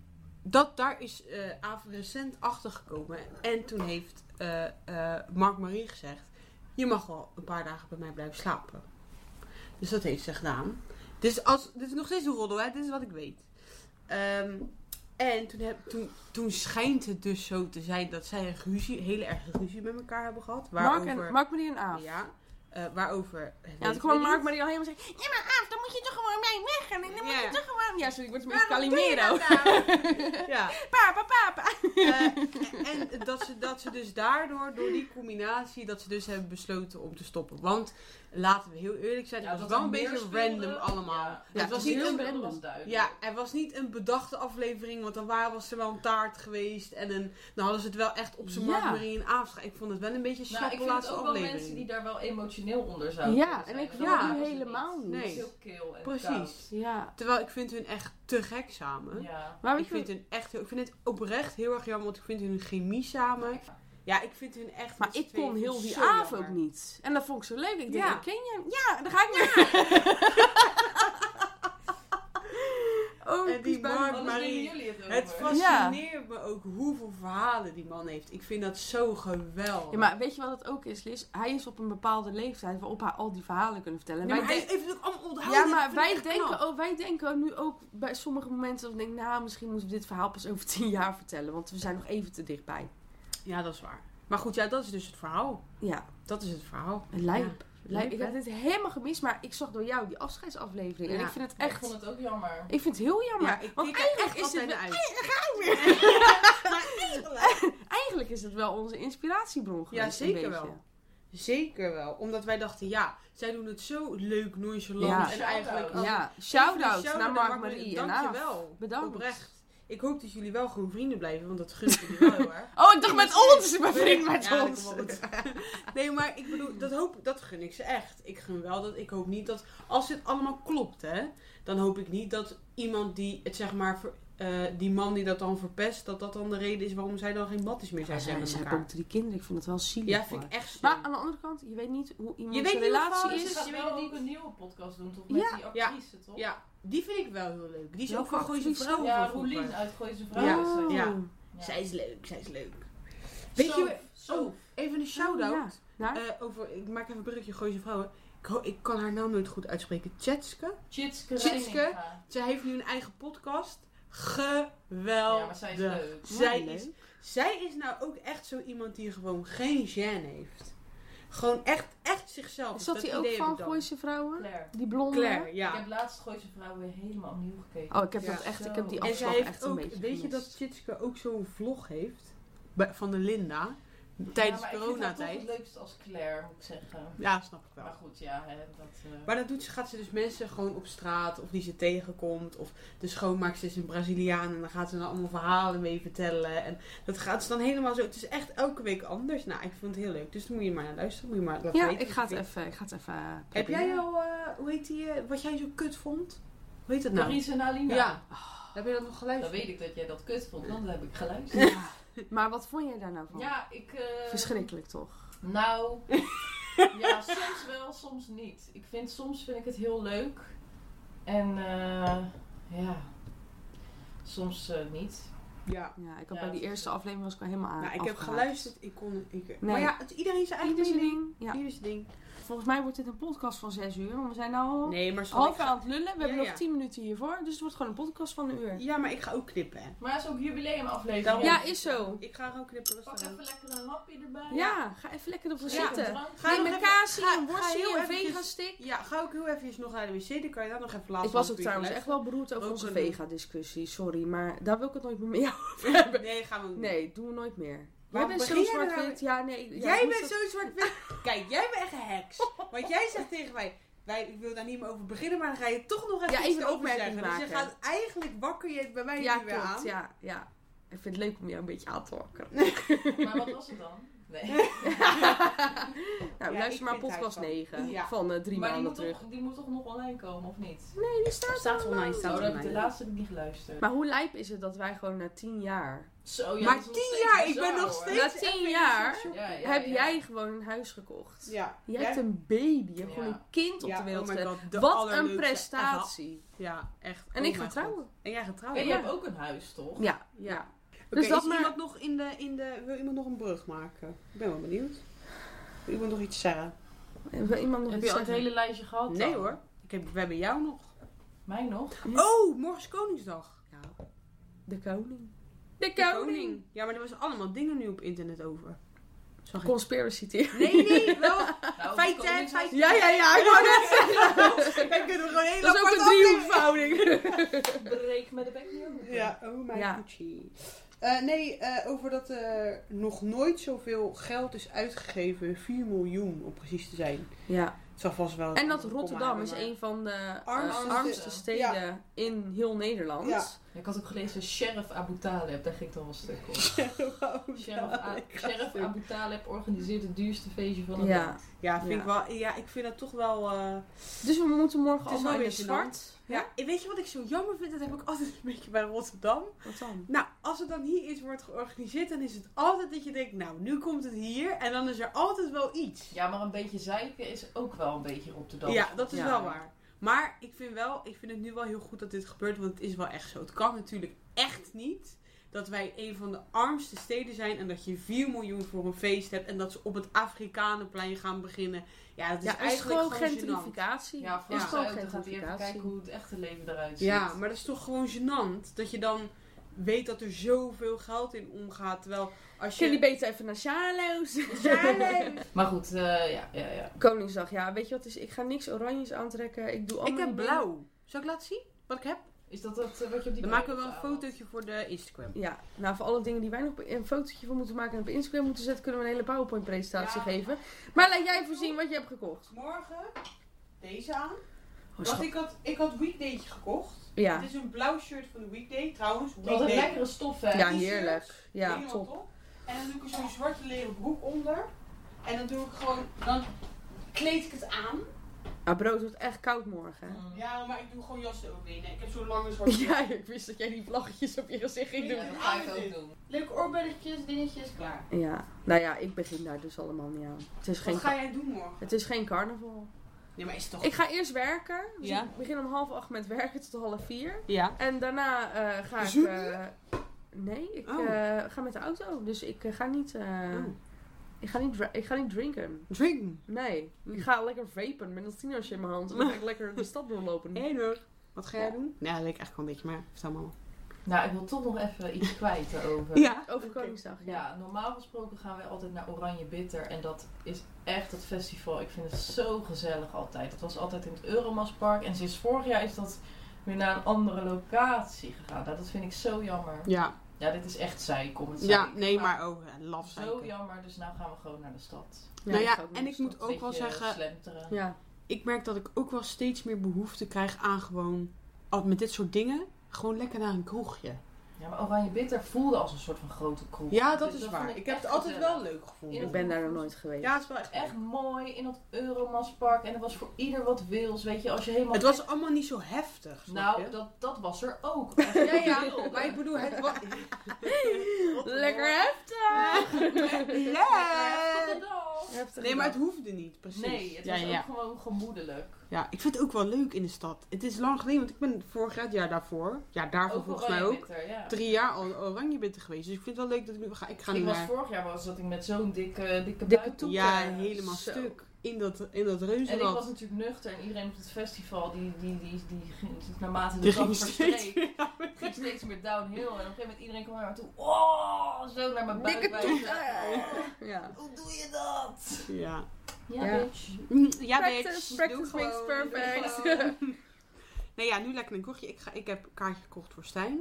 A: dat, daar is eh Aaf recent achtergekomen. En toen heeft eh, eh, Mark Marie gezegd: Je mag wel een paar dagen bij mij blijven slapen. Dus dat heeft ze gedaan. Dus als, dit is nog steeds een roddel, hè? dit is wat ik weet. Ehm, en toen, heb, toen, toen schijnt het dus zo te zijn dat zij een ruzie, hele erg ruzie met elkaar hebben gehad.
B: Mark,
A: Waarover,
B: en, Mark, meneer en Aaf. Ja,
A: Ja, eh, waarover.
B: toen kwam Mark, meneer al helemaal zeggen... Ja, maar Aaf, dan moet je toch gewoon mee weg. En dan moet
A: Ja.
B: je toch gewoon... Ja,
A: Ja, sorry, ik word een beetje
B: Waarom doe je
A: Calimero.
B: dat nou?
A: [LAUGHS] Ja.
B: Papa, papa.
A: Eh, en dat ze, dat ze dus daardoor, door die combinatie, dat ze dus hebben besloten om te stoppen. Want laten we heel eerlijk zijn,
C: Ja,
A: het was wel
C: dat er
A: een
C: meer
A: beetje
C: speelde,
A: random allemaal.
C: ja.
A: Het
B: Ja,
A: was
B: het
A: niet
B: is
C: Heel
A: een,
B: heel
C: veel
B: random.
C: was duidelijk. Nou,
A: ja, er was niet een bedachte aflevering, want dan waren, was er wel een taart geweest. En een, dan hadden ze het wel echt op zijn
B: Ja.
A: markt Marie in Aafstra. Ik vond het wel een beetje een
C: Nou, ik
A: slappe
C: vind het
A: laatste
C: ook wel
A: aflevering.
C: mensen die daar wel emotioneel onder zouden kunnen
B: Ja,
C: zijn.
B: en ik
C: dat
B: wil
A: Ja.
C: waren
B: nu
C: ze
B: helemaal niet.
C: Het is
A: Nee.
C: heel kil en
A: Precies.
B: Ja.
A: Terwijl ik vind hun echt te gek samen.
C: koud. Ja.
B: Maar
A: Ik
B: weet je
A: vind,
B: wat-
A: hun echt, heel- ik vind het oprecht heel erg jammer, want ik vind hun chemie samen. Ja, ik vind hun echt.
B: maar
A: met z'n
B: ik kon
A: tweeën
B: heel die
A: zo jammer.
B: avond ook niet. En dat vond ik zo leuk. Ik denk,
A: Ja.
B: ik ken je. Ja, dan ga ik naar.
A: [LAUGHS]
B: oh,
A: En die
B: ik ben-
A: Mark-
C: Anders
A: Marie,
C: deden jullie het over.
A: Het
B: Ja.
A: fascineert me ook hoeveel verhalen die man heeft. Ik vind dat zo geweldig.
B: Ja, maar weet je wat het ook is, Liz? Hij is op een bepaalde leeftijd waarop hij al die verhalen kunnen vertellen. En
A: Ja, maar
B: wij
A: hij
B: denken-
A: heeft het ook allemaal onthouden.
B: ja, maar wij denken,
A: ook.
B: ook, wij denken ook nu ook bij sommige momenten... dat ik denk, nou, misschien moeten we dit verhaal pas over tien jaar vertellen. Want we zijn nog even te dichtbij.
A: Ja, dat is waar. Maar goed, ja, dat is dus het verhaal.
B: Ja,
A: Dat is het verhaal.
B: lijp.
A: Ja.
B: lijp. Ik
A: hè?
B: heb dit helemaal gemist, maar ik zag door jou die afscheidsaflevering. En
A: Ja.
B: ik vind het
C: Echt. Ik
B: echt...
C: vond het ook jammer.
B: Ik vind het heel jammer.
A: ik
B: want
A: kijk er
B: eigenlijk
A: echt
B: is
A: altijd
B: het
A: naar uit.
B: Eigenlijk is het wel onze inspiratiebron geweest. een
A: zeker
B: beetje.
A: wel. Zeker wel. Omdat wij dachten, ja, zij doen het zo leuk, nonchalant.
B: Ja.
A: En eigenlijk...
C: Als-
B: Ja, shout-out
A: Shout-out
B: naar Mark, Marie en Aaf.
A: Dankjewel.
B: Bedankt.
A: Oprecht. Ik hoop dat jullie wel gewoon vrienden blijven, want dat gunnen jullie wel heel erg.
B: Oh, ik dacht met ons! [LAUGHS] Mijn vriend met
A: Ja, dat
B: ons!
A: komt wel goed. [LAUGHS] Nee, maar ik bedoel, dat, hoop, dat gun ik ze echt. Ik gun wel dat, ik hoop niet dat, als dit allemaal klopt, hè, dan hoop ik niet dat iemand die het zeg maar, ver- eh, die man die dat dan verpest, dat dat dan de reden is waarom zij dan geen matties meer zijn.
B: Ah, Zij
A: zijn met
B: hebben
A: elkaar.
B: ook drie kinderen. Ik vind het wel zielig.
A: Ja, vind
B: hoor.
A: ik echt stom.
B: Maar aan de andere kant, je weet niet hoe
A: Je
B: iemands
A: weet niet
B: relatie
A: hoe het
C: dus Ze
A: is,
B: is.
C: gaat
A: je
C: wel
A: weet het
C: ook
A: niet.
C: een nieuwe podcast doen, toch? Met
B: Ja.
C: die actrice, toch?
A: Ja, die vind ik wel heel leuk. Die is
B: Welke
A: ook van Gooise
B: actrice?
A: Vrouwen.
C: Ja,
A: van vroeger.
C: Roelien uit Gooise
A: Ja.
C: Vrouwen. is dat.
A: Ja.
C: Ja.
A: Zij is leuk, zij is leuk. Weet
C: Sof,
A: je-
C: Sof.
A: Even een shout-out.
B: Oh, Ja. Nou, Naar-
A: Eh, over, ik maak even een brugje Gooise Vrouwen. Ik, ho- ik kan haar naam nooit goed uitspreken. Tjetske.
C: Chitske
A: Chitske.
C: Reininga.
A: Zij heeft nu een eigen podcast.
C: Ja,
A: Geweldig.
C: maar zij is leuk.
A: Zij
B: Ja,
A: is,
B: leuk.
A: zij is nou ook echt zo iemand die gewoon geen gêne heeft. Gewoon echt, echt zichzelf.
B: Zat
A: Dat
B: hij ook
A: idee heb
B: van
A: ik dan.
B: Gooise Vrouwen?
C: Claire.
B: Die blonde?
A: Claire,
C: Ik
A: ja.
C: heb laatst Gooise Vrouwen helemaal opnieuw gekeken.
B: Oh, ik heb
A: Ja.
B: dat echt, ik heb die
C: Zo.
A: En zij
B: afslag
A: heeft
B: echt een
A: ook,
B: beetje
A: weet je
B: gemist.
A: dat Chitske ook zo'n vlog heeft? Bij- Van de Linda. Tijdens
C: ja, maar Ik vind haar toch
A: coronatijd.
C: het leukst als Claire, moet ik zeggen.
A: Ja, snap ik
C: Maar
A: wel.
C: goed, ja, hè, dat... eh,
A: Maar dat doet ze, gaat ze dus mensen gewoon op straat, of die ze tegenkomt, of de schoonmaakster is een Braziliaan en dan gaat ze dan allemaal verhalen mee vertellen. En dat gaat ze dan helemaal zo. Het is echt elke week anders. Nou, ik vond het heel leuk. Dus dan moet je maar naar luisteren. Moet je maar laten
B: Ja,
A: weten
B: ik
A: wat
B: ga
A: je
B: het
A: vindt.
B: even, ik ga het even proberen.
A: Heb jij al, eh, hoe heet die, eh, wat jij zo kut vond? Hoe heet dat nou?
C: Maurice en Alina.
A: Ja. Oh. Heb je dat nog
C: Dan
A: geluisterd?
C: weet ik dat jij dat kut vond, want dat heb ik geluisterd.
A: [LAUGHS]
B: Ja. Maar wat vond jij daar nou van?
C: Ja, ik... eh,
B: Verschrikkelijk toch?
C: [LAUGHS] Nou, ja, soms wel, soms niet. Ik vind, soms vind ik het heel leuk. En eh, ja, soms eh, niet.
A: Ja.
B: Ja, ik had
C: Ja,
B: bij die
C: dat-
B: eerste aflevering was ik wel helemaal aan.
A: Nou, ik heb
B: afgehaakt.
A: geluisterd. Ik kon, ik, Maar ja, het, iedereen zijn eigen
B: Ieder zijn
A: mening.
B: ding. Ja.
A: Ieder zijn ding.
B: Volgens mij wordt dit een podcast van 6 uur. Want we zijn nou al
A: Nee, maar schat,
B: half
A: ik ga-
B: aan het lullen. We hebben
A: Ja,
B: nog
A: ja.
B: 10 minuten hiervoor. Dus het wordt gewoon een podcast van een uur.
A: Ja, maar ik ga ook knippen. hè.
C: Maar het is ook jubileumaflevering.
A: Daarom-
B: Ja, is zo.
A: Ik ga gewoon knippen.
C: Pak
A: rustig aan.
C: even lekker een hapje erbij.
B: Ja, ga even lekker ervoor
C: Ja, een
B: zitten.
C: drankje.
A: Ga je
B: Neem
A: nog
B: een
A: even-
B: kaasje,
A: ga-
B: een
A: ga
B: worstje,
A: heel
B: een
A: eventjes-
B: vegastick.
A: Ja, ga ook heel even nog naar de wc. Dan kan je daar nog even laten.
B: Ik was ook trouwens echt wel beroerd over
A: Ook
B: onze
A: een-
B: vega-discussie. Sorry, maar daar wil ik het nooit meer mee
A: [LAUGHS]
B: over hebben.
A: Nee, gaan we niet.
B: Nee, doen we nooit meer. Jij
A: Waarom
B: bent zo
A: begin jij er nou
B: zwart-wit. Ja, nee. ja,
A: jij
B: ik
A: bent
B: moest
A: zo zwart
B: [LAUGHS]
A: Kijk, jij bent echt een heks. Want jij zegt tegen mij... Wij, ik wil daar niet meer over beginnen, maar dan ga je toch nog even
B: Ja,
A: iets
B: even een
A: over
B: opmerking
A: zeggen. Dus je
B: maken.
A: gaat eigenlijk wakker je het bij mij
B: dat- Ja,
A: nu weer
B: klopt.
A: aan.
B: Ja, ja. Ik vind het leuk om jou een beetje aan te wakkeren.
C: Maar wat was het dan? Nee.
B: Nou,
A: Ja, ik
B: luister maar
A: vind het
B: podcast
A: hij van.
B: 9
A: Ja.
B: van eh, drie
C: maar die
B: maanden
C: moet,
B: terug.
C: toch, die moet toch nog online komen, of niet?
B: Nee, die staat,
A: Staat
B: online.
A: online, staat
C: Oh, dat heb ik de
A: online.
C: laatste heb ik niet geluisterd.
B: Maar hoe lijp is het dat wij gewoon na tien jaar...
C: Zo, ja,
A: Maar
C: dat is nog
A: 10
C: steeds
A: jaar, ik
C: bizar,
A: ben nog
C: hoor.
A: steeds-
B: Na
A: Weet je,
B: tien jaar
C: Ja, ja, ja.
B: heb jij gewoon een huis gekocht.
A: Ja.
B: Jij hebt een baby. Je hebt
C: Ja.
B: gewoon een kind op
A: Ja,
B: de wereld
A: oh my
B: gezet.
A: god, de
B: Wat
A: allerleukste
B: een
A: ever.
B: prestatie.
A: Ja, echt.
B: En
A: Oh
B: ik
A: mijn
B: ga
A: god.
B: trouwen.
A: En jij gaat
C: En
A: trouwen.
C: je
A: Oh, Ja.
C: hebt ook een huis, toch?
B: Ja.
A: ja.
B: Dus
A: dus
B: dat
A: dat is
B: maar-
A: iemand nog in de, in de... Wil iemand nog een brug maken? Ik ben wel benieuwd. Wil iemand nog iets zeggen?
B: Wil iemand nog
C: Heb
B: iets
C: je al het
B: zeggen?
C: hele lijstje gehad?
A: Nee
C: dan?
A: hoor. Ik heb, we hebben jou nog.
C: Mij nog?
A: Oh, morgen is Koningsdag.
B: Ja. De koning. De koning.
A: Ja, maar er was allemaal dingen nu op internet over. Zag ik.
B: Conspiracy
A: [LAUGHS]
B: theory.
A: Nee, nee, wel.
C: Nou,
A: Feiten,
C: het Koningshuis-
A: feiten.
B: Ja, ja, ja. Ik wou net
A: [LAUGHS] Dan kunnen we gewoon een
B: zeggen,
A: hele
B: Dat is ook
A: aparte
B: een
A: aflevering. [LAUGHS]
B: driehoekverhouding.
C: Breek met de bek niet open.
A: Ja, oh my
B: Ja.
A: Gucci. Eh, nee, eh, over dat er nog nooit zoveel geld is uitgegeven. 4 miljoen om precies te zijn.
B: Ja.
A: Het zal vast wel.
B: En dat
A: een komma
B: Rotterdam
A: hebben,
B: is
A: Oh, maar- [LAUGHS]
B: een van de eh,
A: Armste-
B: armste, steden in heel Nederland.
A: Ja.
C: Ik had ook gelezen Sheriff Abu Taleb, daar ging ik dan wel stuk op.
A: Oh,
C: Sheriff, A-
A: Ja,
C: Sheriff Abu Taleb organiseert het duurste feestje van het
B: Ja.
C: land.
A: Ja, vind
B: Ja.
A: Ik wel, ja, ik vind dat toch wel. eh,
B: Dus we moeten morgen
A: Het is
B: allemaal in
A: wel
B: het
A: weer gênant.
B: zwart.
A: ja, en weet je wat ik zo jammer vind? Dat heb ik altijd een beetje bij Rotterdam.
B: Wat dan?
A: Nou, als het dan hier iets wordt georganiseerd, dan is het altijd dat je denkt, nou, nu komt het hier. En dan is er altijd wel iets.
C: Ja, maar een beetje zeiken is ook wel een beetje Rotterdam.
A: ja, dat is
B: ja.
A: wel waar. Maar ik vind, wel, ik vind het nu wel heel goed dat dit gebeurt, want het is wel echt zo. Het kan natuurlijk echt niet dat wij een van de armste steden zijn en dat je 4 miljoen voor een feest hebt en dat ze op het Afrikanenplein gaan beginnen. Ja, dat is
B: Ja, is,
A: eigenlijk
B: gewoon
A: gewoon gênant.
B: gentrificatie.
C: Ja,
B: is
C: vooral
B: gewoon
C: ja, dan gaat hij even kijken
B: gentrificatie.
C: hoe het echte leven eruit ziet.
A: Ja, maar dat is toch gewoon gênant dat je dan weet dat er zoveel geld in omgaat. Terwijl als
B: Jullie
A: je.
B: beter even naar Sjaloos.
A: [LAUGHS]
C: Maar goed, eh, ja, ja, ja.
B: [LAUGHS] Koningsdag, ja. Weet je wat het is? Ik ga niks oranjes aantrekken. Ik doe
A: Ik
B: allemaal
A: heb
B: niet mee.
A: blauw. Zal ik laten zien wat ik heb?
C: Is dat dat eh, wat je op die
A: Dan
C: bank
A: maken we wel een
C: hebt
A: fotootje voor de Instagram.
B: Ja, nou voor alle dingen die wij nog op- een fotootje van moeten maken en op Instagram moeten zetten, kunnen we een hele PowerPoint presentatie
A: Ja.
B: geven. Maar laat jij even zien wat je hebt gekocht.
A: Morgen deze aan.
B: Oh,
A: Want ik had, ik had Weekdaytje gekocht.
B: Ja,
A: Dit is een blauw shirt van de Weekday. Trouwens,
C: Wat een
A: Weekday.
C: lekkere stof, hè?
B: ja
A: die
B: heerlijk. Ja,
A: Helemaal
B: top.
A: En dan doe ik er zo'n zwarte leren broek onder. En dan doe ik gewoon, dan kleed ik het aan.
B: Ah, brood wordt echt koud morgen. hè?
C: Mm.
A: Ja, maar ik doe gewoon jassen overheen. hè. Ik heb zo'n lange [LAUGHS] zwarte broek.
B: [LAUGHS] Ja, ik wist dat jij die vlaggetjes op je gezicht ging
C: Ja,
B: doen.
C: dat ga ik ook doen.
A: Leuke oorbelletjes, dingetjes, klaar.
B: Ja, nou ja, ik begin daar dus allemaal niet aan. Het is geen,
A: Wat ga jij doen morgen?
B: het is geen carnaval.
A: Nee, maar is het toch...
B: Ik ga eerst werken. Dus
A: Ja.
B: ik begin om half acht met werken tot half vier.
A: Ja.
B: En daarna eh, ga ik...
A: Zoenen?
B: eh, nee, ik
A: Oh.
B: eh, ga met de auto. Dus ik eh, ga niet... eh, ik, ga niet dra- ik ga niet drinken.
A: Drinken.
B: Nee.
A: Mm.
B: Ik ga lekker vapen met een tienertje in mijn hand. En dan ga ik lekker de
A: [LAUGHS]
B: stad doorlopen.
A: hoor. Wat ga
B: jij
A: doen? Ja, dat weet ik eigenlijk wel een beetje, maar vertel me
C: Nou, ik wil toch nog even iets kwijt over.
A: Ja.
B: Over Koningsdag, ja.
C: Ja, normaal gesproken gaan wij altijd naar Oranje Bitter. En dat is echt het festival. Ik vind het zo gezellig altijd. Het was altijd in het Euromaspark. En sinds vorig jaar is dat weer naar een andere locatie gegaan. Nou, dat vind ik zo jammer.
A: Ja.
C: Ja, dit is echt zeik om het
A: Ja,
C: zeik.
A: nee, maar oh, eh, laf zijn.
C: Zo jammer, dus nou gaan we gewoon naar de stad.
B: Ja,
A: nou
B: ga
A: ja,
B: ook naar
A: en
B: de
A: ik moet
B: stad.
A: ook wel
C: Beetje
A: zeggen,
C: Slenteren.
B: Ja.
A: ik merk dat ik ook wel steeds meer behoefte krijg aan gewoon, al met dit soort dingen, gewoon lekker naar een kroegje.
C: Ja, maar Oranje Bitter voelde als een soort van grote kroeg.
A: Ja, dat
C: Dus
A: is
C: vond
A: waar. Ik heb
C: echt
A: het altijd wel
C: gezellig.
A: leuk
B: Ik
A: gevonden.
B: ben daar nog nooit geweest.
A: Ja, het is wel echt
C: Echt mooi in dat Euromaspark. En er was voor ieder wat wils. Weet je, als je helemaal...
A: Het was allemaal niet zo heftig, snap je?
C: Nou, dat, dat was er
A: [LAUGHS]
C: ook. Als je
A: Ja, ja,
C: wilde.
A: maar ik bedoel, het [LAUGHS]
C: [LAUGHS]
A: was...
B: Lekker heftig!
A: [LAUGHS] Ja.
C: Rotterdam.
B: Heftig
A: Nee, maar het
B: gedaan.
A: hoefde niet, precies.
C: Nee, het
A: ja,
C: was
A: ja,
C: ook
A: ja.
C: gewoon gemoedelijk.
A: Ja, ik vind het ook wel leuk in de stad. Het is lang geleden, want ik ben vorig jaar, het jaar daarvoor, ja, daarvoor volgens mij ook,
C: Bitter, ja.
A: drie jaar al oranje bitter geweest. Dus ik vind het wel leuk dat ik nu ga. Ik ga nu
C: Ik was
A: naar-
C: vorig jaar was, zat ik met zo'n dikke,
B: Dikke
C: dikke buik.
B: toe-
A: Ja,
B: eh,
A: helemaal
B: zo.
A: stuk. In dat, in dat
C: En ik
A: reuzenrad.
C: was natuurlijk nuchter en iedereen op het festival, die, die, die, die ging dus naarmate de
A: Die
C: dag
A: ging steeds-
C: verstreek, ging steeds meer downhill. En op een gegeven moment iedereen kwam naar me toe, oh, zo naar mijn buik
B: Dikke
C: wijzen. Oh,
B: toe- Ah. Ja.
C: Hoe doe je dat?
A: [LAUGHS] Ja.
C: Ja,
B: Ja.
C: bitch.
A: Mm, Ja,
B: Practice,
A: bitch.
B: practice
A: Doe
B: makes
A: gewoon, doe
B: perfect. [LAUGHS]
A: gewoon. nee, ja, nu lekker een kochtje. Ik, ga, ik heb een kaartje gekocht voor Stijn.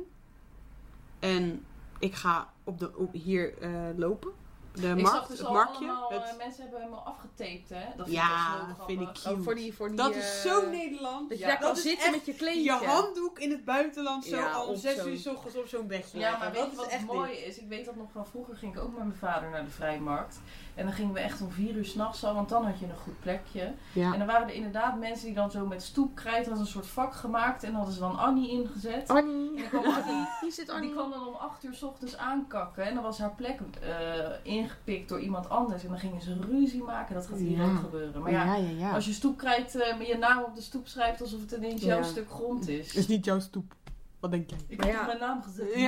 A: En ik ga op de, op, hier eh, lopen. De
C: ik zag
A: markt,
C: dus
A: het
C: al
A: marktje.
C: allemaal, eh,
A: het-
C: mensen hebben hem al afgetaped, hè? Dat
A: ja,
C: vind ik, dus wel
A: vind ik
C: grappig.
A: cute.
B: Oh, [LAUGHS] voor die, voor die,
A: dat is zo
B: eh,
A: Nederland.
B: Dat
C: Ja,
B: jij kan
A: dat is
B: zitten
A: echt
B: met je
A: Je
B: kleedje.
A: handdoek in het buitenland zo
B: Ja,
A: al om
B: op
A: zes
B: zo'n-
A: uur 's ochtends op zo'n bedje.
C: Ja,
A: leggen.
C: maar
A: dat
C: weet je wat
A: is echt
C: mooi
A: dit.
C: is? Ik weet dat nog van vroeger ging ik ook met mijn vader naar de vrijmarkt. En dan gingen we echt om vier uur s'nachts al, want dan had je een goed plekje. En
A: Ja.
C: dan waren er inderdaad mensen die dan zo met stoepkrijt hadden een soort vak gemaakt. En hadden ze dan Annie ingezet. En
B: Annie.
C: dan kwam Annie,
B: Hier zit
C: die
B: Annie.
C: kwam dan om acht uur s ochtends aankakken. En dan was haar plek eh, ingepikt door iemand anders. En dan gingen ze ruzie maken. Dat gaat hier
A: Ja.
C: ook gebeuren. Maar ja,
A: ja, ja.
C: als je stoepkrijt eh, met je naam op de stoep schrijft alsof het ineens jouw
B: Ja.
C: stuk grond is.
A: Is niet jouw stoep. Wat denk jij?
C: Ik
B: Maar
C: heb
B: ja.
C: op mijn naam gezet.
A: Ja,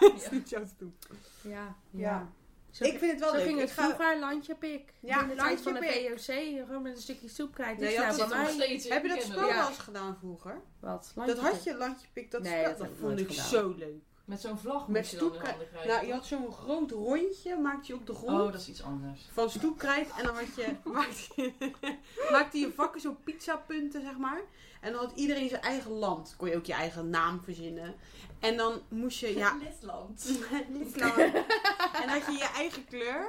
C: Ja.
A: is niet [LAUGHS] jouw stoep.
B: Ja,
A: Ja.
B: ja. Zo,
A: Ik vind het wel
B: zo
A: leuk.
B: ging
A: Ik
B: het
A: ga-
B: vroeger, landje pik.
A: Ja,
B: in de tijd van de
A: landje
B: VOC, gewoon met een stukje soep krijgt.
A: Nee,
B: Nee,
A: dat
B: nou
C: Dat
A: is
B: bij
C: zit er nog
B: mij.
C: steeds in,
A: Heb je dat
C: kinderen.
A: spel wel
B: Ja.
A: eens gedaan vroeger?
B: Wat?
A: dat had je landje pik, dat
B: Nee,
A: spel.
B: dat
A: Dat
B: heb ik
A: vond
B: nooit
A: ik
B: gedaan.
A: zo leuk.
C: Met zo'n vlag
A: Met
C: moet je dan in
A: stoepka-
C: handen krijgen.
A: Nou, je had zo'n groot rondje, maakte je op de grond.
C: Oh, dat is iets anders.
A: Van stoepkrijt en dan had je, maakte, [LAUGHS] maakte je vakken zo'n pizzapunten, zeg maar. En dan had iedereen zijn eigen land. Kon je ook je eigen naam verzinnen. En dan moest je, [LAUGHS] ja,
C: Letland.
A: [LAUGHS] Niet lang. en had je je eigen kleur.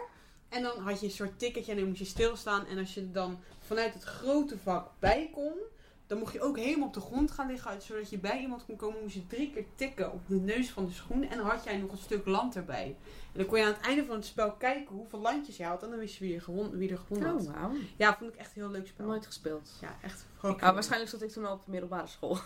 A: En dan had je een soort ticketje en dan moest je stilstaan. En als je dan vanuit het grote vak bij kon, dan mocht je ook helemaal op de grond gaan liggen. Zodat je bij iemand kon komen, moest je drie keer tikken op de neus van de schoen. En dan had jij nog een stuk land erbij. En dan kon je aan het einde van het spel kijken hoeveel landjes je had. En dan wist je wie er gewonnen, wie er gewonnen had.
B: Oh, wauw. Ik
A: Ja, vond ik echt een heel leuk
B: heb
A: spel.
B: nooit gespeeld.
A: Ja, echt.
B: Ah, waarschijnlijk zat ik toen al op de middelbare school.
A: [LAUGHS]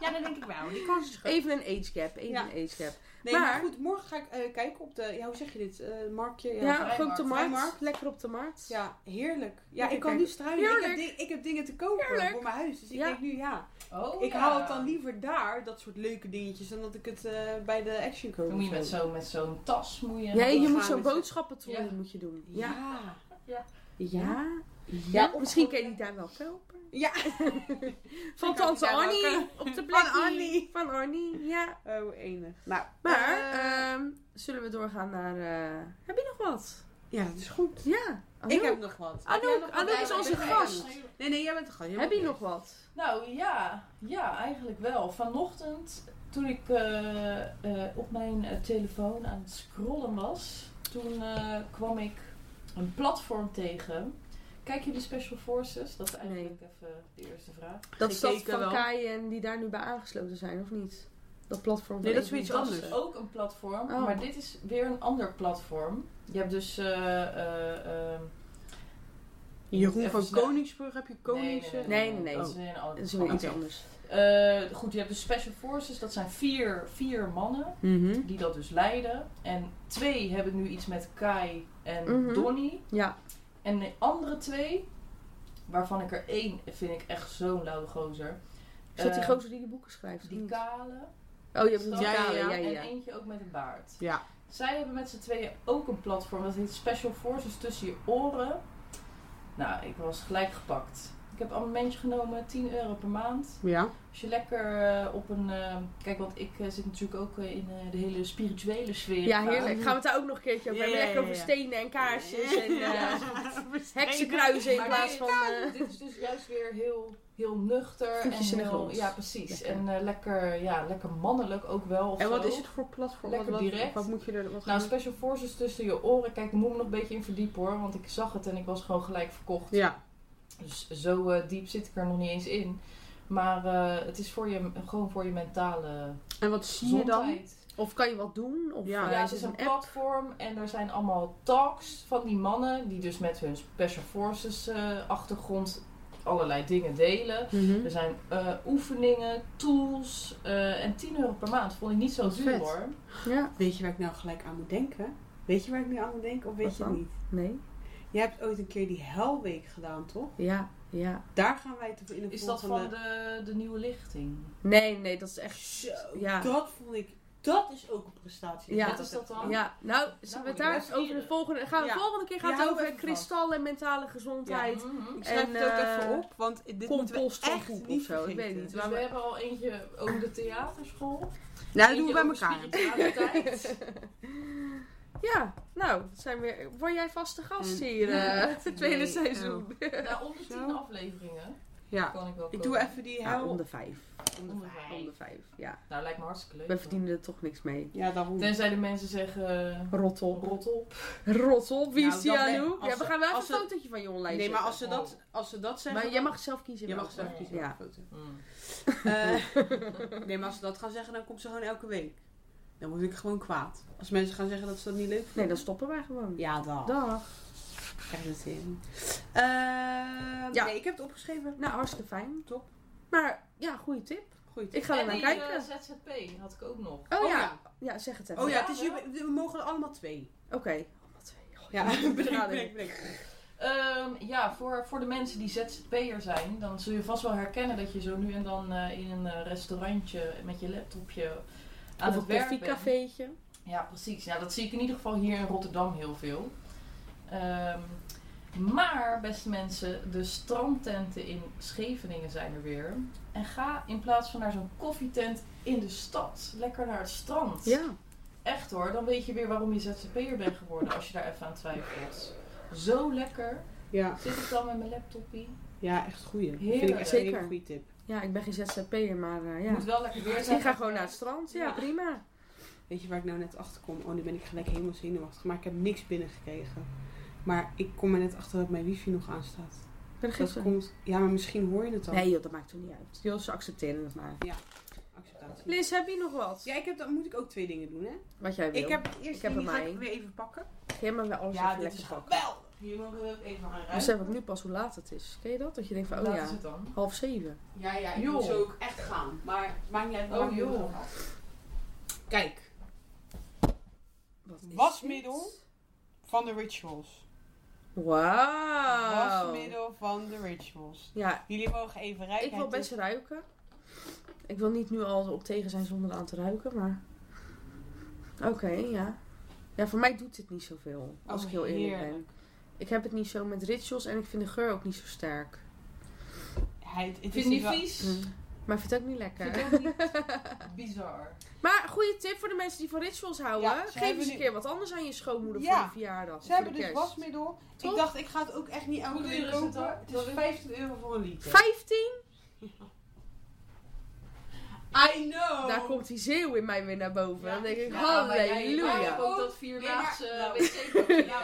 A: Ja, dat denk ik wel. Die kans is groot.
B: Even een age gap, even
A: Ja.
B: een age gap.
A: Nee, maar,
B: Maar-
A: goed, morgen ga ik eh, kijken op de... Ja, hoe zeg je dit? Eh marktje?
B: Ja,
C: vrijmarkt,
B: gewoon op de markt.
A: vrijmarkt.
B: Lekker op de markt.
A: Ja, heerlijk. Ja,
B: Lekker
A: ik kan
B: kijken.
A: nu struinen. Ik heb,
B: Heerlijk.
A: di- ik heb dingen te kopen
B: Heerlijk.
A: voor mijn huis. Dus ik
B: Ja.
A: denk nu, ja,
C: Oh,
A: ik
C: ja.
A: haal het dan liever daar, dat soort leuke dingetjes, dan dat ik het eh, bij de Action koop.
C: Dan moet je
A: of
C: met
A: zo.
C: zo'n met zo'n tas moet je...
B: Ja,
A: dan
B: je
A: gaan
B: moet
A: we
B: zo'n
A: met-
B: boodschappentrolley
C: Ja.
B: moet je doen. Ja.
A: Ja.
B: Ja. ja.
A: Ja, of-
B: Misschien ken je die daar wel helpen.
A: Ja.
B: [LAUGHS] Van
A: kan die
B: tante
A: daar wel
B: Annie.
A: helpen.
B: Op de
A: Van
B: plek.
A: Annie.
B: Van Annie, ja.
A: Oh, enig. Nou,
B: Maar,
A: eh,
B: ehm, zullen we doorgaan naar... eh, heb je nog wat? Oh,
A: ja, dat is goed.
B: Ja. Ah,
A: Ik
B: Anouk.
A: heb nog wat.
B: Anouk,
A: Heb jij nog wat?
B: Anouk
A: Ja,
B: is
A: ik
B: onze
A: ben er.
B: gast.
A: Nee, nee, jij bent de gast. Jij
B: Heb
A: bent
B: je nog wat?
C: Nou ja, ja, eigenlijk wel. Vanochtend toen ik eh, eh, op mijn eh, telefoon aan het scrollen was, toen eh, kwam ik een platform tegen. Kijk jullie Special Forces? Dat is eigenlijk even de eerste vraag.
B: Dat is dat
A: Gekeken
B: van
A: wel.
B: Kai en die daar nu bij aangesloten zijn, of niet? Dat platform.
A: Nee, dat is
B: van-
A: weer iets
C: dat
A: anders.
C: is ook een platform,
B: Oh.
C: maar dit is weer een ander platform. Je hebt dus... eh, eh, eh,
A: Jeroen
C: even
A: van
C: snel-
A: Koningsburg, heb je Konings...
B: Nee, nee, nee.
C: Dat is weer een
B: Dat
C: ander
B: is weer iets
A: Oké.
B: anders.
C: Eh, goed, je hebt dus Special Forces, dat zijn vier, vier mannen
A: Mhm.
C: die dat dus leiden. En twee hebben nu iets met Kai en
B: Mhm.
C: Donnie.
B: Ja.
C: En de andere twee, waarvan ik er één vind ik echt zo'n lauwe gozer.
B: Is dat die
C: Eh,
B: gozer die de boeken schrijft? of
C: Die
B: niet?
C: kale.
B: Oh, je hebt een
C: Ja,
A: ja,
B: kale. Ja,
A: ja.
B: ja, ja.
C: En eentje ook met een baard.
A: Ja.
C: Zij hebben met z'n tweeën ook een platform. Dat heet Special Forces tussen je oren. Nou, ik was gelijk gepakt. Ik heb abonnementje genomen, 10 euro per maand.
A: Ja.
C: Als je lekker eh, op een. eh, kijk, want ik eh, zit natuurlijk ook eh, in eh, de hele spirituele sfeer.
B: Ja, heerlijk. Gaan we het daar ook nog een keertje over
A: Ja,
B: hebben?
A: ja,
B: Lekker
A: ja,
B: over
A: ja.
B: stenen en kaarsjes en
A: [LAUGHS]
B: eh,
A: Heksenkruizen
B: heksenkruisen in
C: Maar
B: plaats
C: dit
B: van... eh,
C: [LAUGHS] Dit is dus juist weer heel, heel nuchter.
B: Voetjes
C: en
B: in de
C: heel-
B: grond.
C: Ja, precies.
B: Lekker.
C: En eh, lekker, ja, lekker mannelijk ook wel. of
A: En wat
C: zo.
A: is het voor platform?
C: Lekker
A: wat, wat,
C: direct.
A: Wat moet je er... Wat
C: Nou,
A: gaan-
C: Special Forces tussen je oren. Kijk, ik moet me nog een beetje in verdiepen hoor. Want ik zag het en ik was gewoon gelijk verkocht.
A: ja.
C: Dus zo eh, diep zit ik er nog niet eens in. Maar eh, het is voor je, gewoon voor je mentale
A: En wat zie je dan? Ah,
C: gezondheid.
B: Of kan je wat doen? Of
A: Ja.
B: eh,
C: Ja,
B: is
C: het
B: het
C: is een
B: een app?
C: platform en daar zijn allemaal talks van die mannen die dus met hun special forces eh, achtergrond allerlei dingen delen.
B: Mhm. Dus-
C: Er zijn eh, oefeningen, tools eh, en 10 euro per maand. Vond ik niet zo
A: Wat
C: duur
A: vet.
C: hoor.
B: Ja.
A: Weet je waar ik nou gelijk aan moet denken? Weet je waar ik nu aan moet denken of weet
B: Wat
A: je
B: dan?
A: niet?
B: Nee.
A: Jij hebt ooit een keer die helweek gedaan, toch?
B: Ja. Ja.
A: Daar gaan wij het in de
C: Is dat
A: volgende...
C: van de, de nieuwe lichting?
B: Nee, nee, dat is echt...
A: Zo,
B: Ja.
A: dat vond ik... Dat is ook een prestatie.
B: Ja.
C: Wat is dat dan?
B: Ja, nou, zullen we het daar
C: Nou,
B: eens over de volgende... Gaan we
A: Ja.
B: volgende keer gaan
A: Ja,
B: we het
A: hou
B: over
A: even vast.
B: kristal en mentale gezondheid.
C: Mhm.
A: Ik schrijf
B: En,
A: het ook
B: eh,
A: even op, want dit moeten we
B: Compost van
A: echt
B: poep
A: niet
B: of zo, ik
A: vergeten.
B: weet niet.
C: Dus
B: Maar
C: we
B: we-
C: hebben al eentje over de theaterschool.
A: Nou, dat
C: Eentje
A: doen we bij
C: over
A: elkaar. [LAUGHS]
B: [LAUGHS]
C: spiritualiteit.
B: Ja, nou, dat zijn weer... Word jij vaste gast
A: En-
B: hier, eh, het tweede
A: Nee,
B: seizoen.
C: Nou, om de
A: Zo.
C: 10 afleveringen
A: Ja.
C: kan ik wel
A: Ik
C: komen.
A: doe even die
B: Ja, om
A: hel...
B: de vijf.
C: om de vijf.
B: Om de vijf, ja.
C: Nou, lijkt me hartstikke leuk.
B: We verdienen er toch niks mee.
A: Ja, daarom.
C: Tenzij de mensen zeggen... eh,
B: Rot
A: Oh.
B: op.
C: Rot op.
B: Rot op, wie
A: Nou,
B: is die
A: dat
B: aan
A: ben-
B: hoe?
A: als
B: Ja, we
A: ze-
B: gaan wel even
A: als
B: een
A: ze-
B: fotootje van je online
A: Nee, maar
B: zetten.
A: als ze dat, als ze dat zeggen...
B: Maar jij mag zelf kiezen.
A: Je mag
B: welke.
A: zelf kiezen
B: Ja.
A: welke
B: [LAUGHS]
A: foto.
C: Mm.
A: Eh, nee, maar als ze dat gaan zeggen, dan komt ze gewoon elke week. Dan word ik gewoon kwaad. Als mensen gaan zeggen dat ze dat niet leuk vinden.
B: Nee, dan stoppen wij gewoon.
A: Ja, dan.
B: Dag.
A: krijg je het in. Eh,
B: Ja.
A: Nee, ik heb het opgeschreven.
B: Nou, hartstikke fijn.
A: Top.
B: Maar ja, goede tip.
A: Goed.
B: Ik ga er
C: en
B: naar
C: die
B: kijken.
C: eh, ZZP had ik ook nog.
B: Oh,
A: Oh,
B: ja. ja.
A: ja.
B: zeg het even.
A: Oh ja,
C: Ja,
A: het is,
C: wel.
A: jube- we mogen er allemaal twee.
B: Oké. Oh, wat- oh,
A: [LAUGHS] Ja,
B: ik moet het
A: bedenk,
B: raden.
A: bedenk, bedenk.
C: Ehm, ja, voor, voor de mensen die ZZP'er zijn, dan zul je vast wel herkennen dat je zo nu en dan eh, in een eh, restaurantje met je laptopje aan
B: Of
C: het
B: een
C: werk bent.
B: koffiecafeetje.
C: Ja, precies. Ja, dat zie ik in ieder geval hier in Rotterdam heel veel. Ehm, Maar, beste mensen, de strandtenten in Scheveningen zijn er weer. En ga in plaats van naar zo'n koffietent in de stad, lekker naar het strand.
B: Ja.
C: Echt hoor, dan weet je weer waarom je ZZP'er bent geworden als je daar even aan twijfelt. Zo lekker.
A: Ja,
C: Zit ik dan met mijn laptopie?
A: ja echt goeie. Dat vind ik
C: Heerlijk.
A: echt een
B: Zeker.
A: hele goede tip.
B: ja, ik ben geen ZZP'er, maar eh, ja.
C: Moet wel lekker weer zijn.
B: Ik ga gewoon naar het strand. Ja,
C: Ja.
B: prima.
A: Weet je waar ik nou net achter kom? Oh, nu ben ik gelijk helemaal zenuwachtig. Maar ik heb niks binnengekregen. Maar ik kom er net achter dat mijn wifi nog aanstaat.
B: Ik ben er
A: Dat
B: gisteren.
A: komt... Ja, maar misschien hoor je het al.
B: Nee joh, dat maakt toch niet uit. Joh, ze accepteren het maar.
A: Acceptatie.
B: Liz, heb je nog wat?
A: Ja, ik heb, dan moet ik ook twee dingen doen, hè?
B: Wat jij wil.
A: Ik heb eerst
B: Ik heb
A: die
B: er
A: ga
B: maar
A: ik
B: één.
A: weer even pakken.
B: Jij mag wel alles
C: Ja,
B: even
C: dit
B: lekker
C: is
B: pakken.
A: Wel! Hier mogen we ook even aan ruiken.
B: Besef ik nu pas hoe laat het is. Ken je dat? Dat je denkt van, oh
C: Laat is
B: ja,
C: het dan.
B: half zeven.
A: Ja, ja,
C: Joh.
A: ook echt gaan. Maar het maakt niet uit.
C: Oh,
A: waar ik
C: joh.
A: naartoe ga. Kijk,
B: Wat is
A: Wasmiddel.
B: dit?
A: van de rituals. Oh.
B: Wauw.
A: Wasmiddel van de rituals.
B: Ja,
A: Jullie mogen even rijden.
B: ik wil best ruiken. Ik wil niet nu al op tegen zijn zonder aan te ruiken, maar... Oké, ja. Ja, voor mij doet dit niet zoveel, als
A: Oh,
B: ik heel eerlijk ben.
A: heerlijk.
B: Ik heb het niet zo met rituals en ik vind de geur ook niet zo sterk.
A: Hij, het
C: Ik
A: is
C: vind het niet
A: wel-
C: vies.
B: Maar ik vind het ook niet lekker.
C: Ik vind het
B: Mm.
C: niet bizar.
B: Maar goede tip voor de mensen die van rituals houden.
A: Ja, ze
B: Geef
A: hebben
B: eens een
A: nu-
B: keer wat anders aan je schoonmoeder
A: Ja,
B: voor de verjaardag.
A: Ze hebben dus
B: was
A: wasmiddel.
B: Toch?
A: Ik dacht, ik ga het ook echt niet elke
C: Hoe duur
A: keer
C: is het
A: kopen.
C: dan?
A: Het is 15 euro voor een liter.
B: 15?
A: I know!
B: Daar komt die zeeuw in mij weer naar boven.
A: Ja.
B: Dan denk
A: Ja,
B: ik,
C: maar jij- maar
B: halleluja.
C: ik
B: Dat
C: ook dat vierdaagse
A: Nee, maar-
C: wc-papier.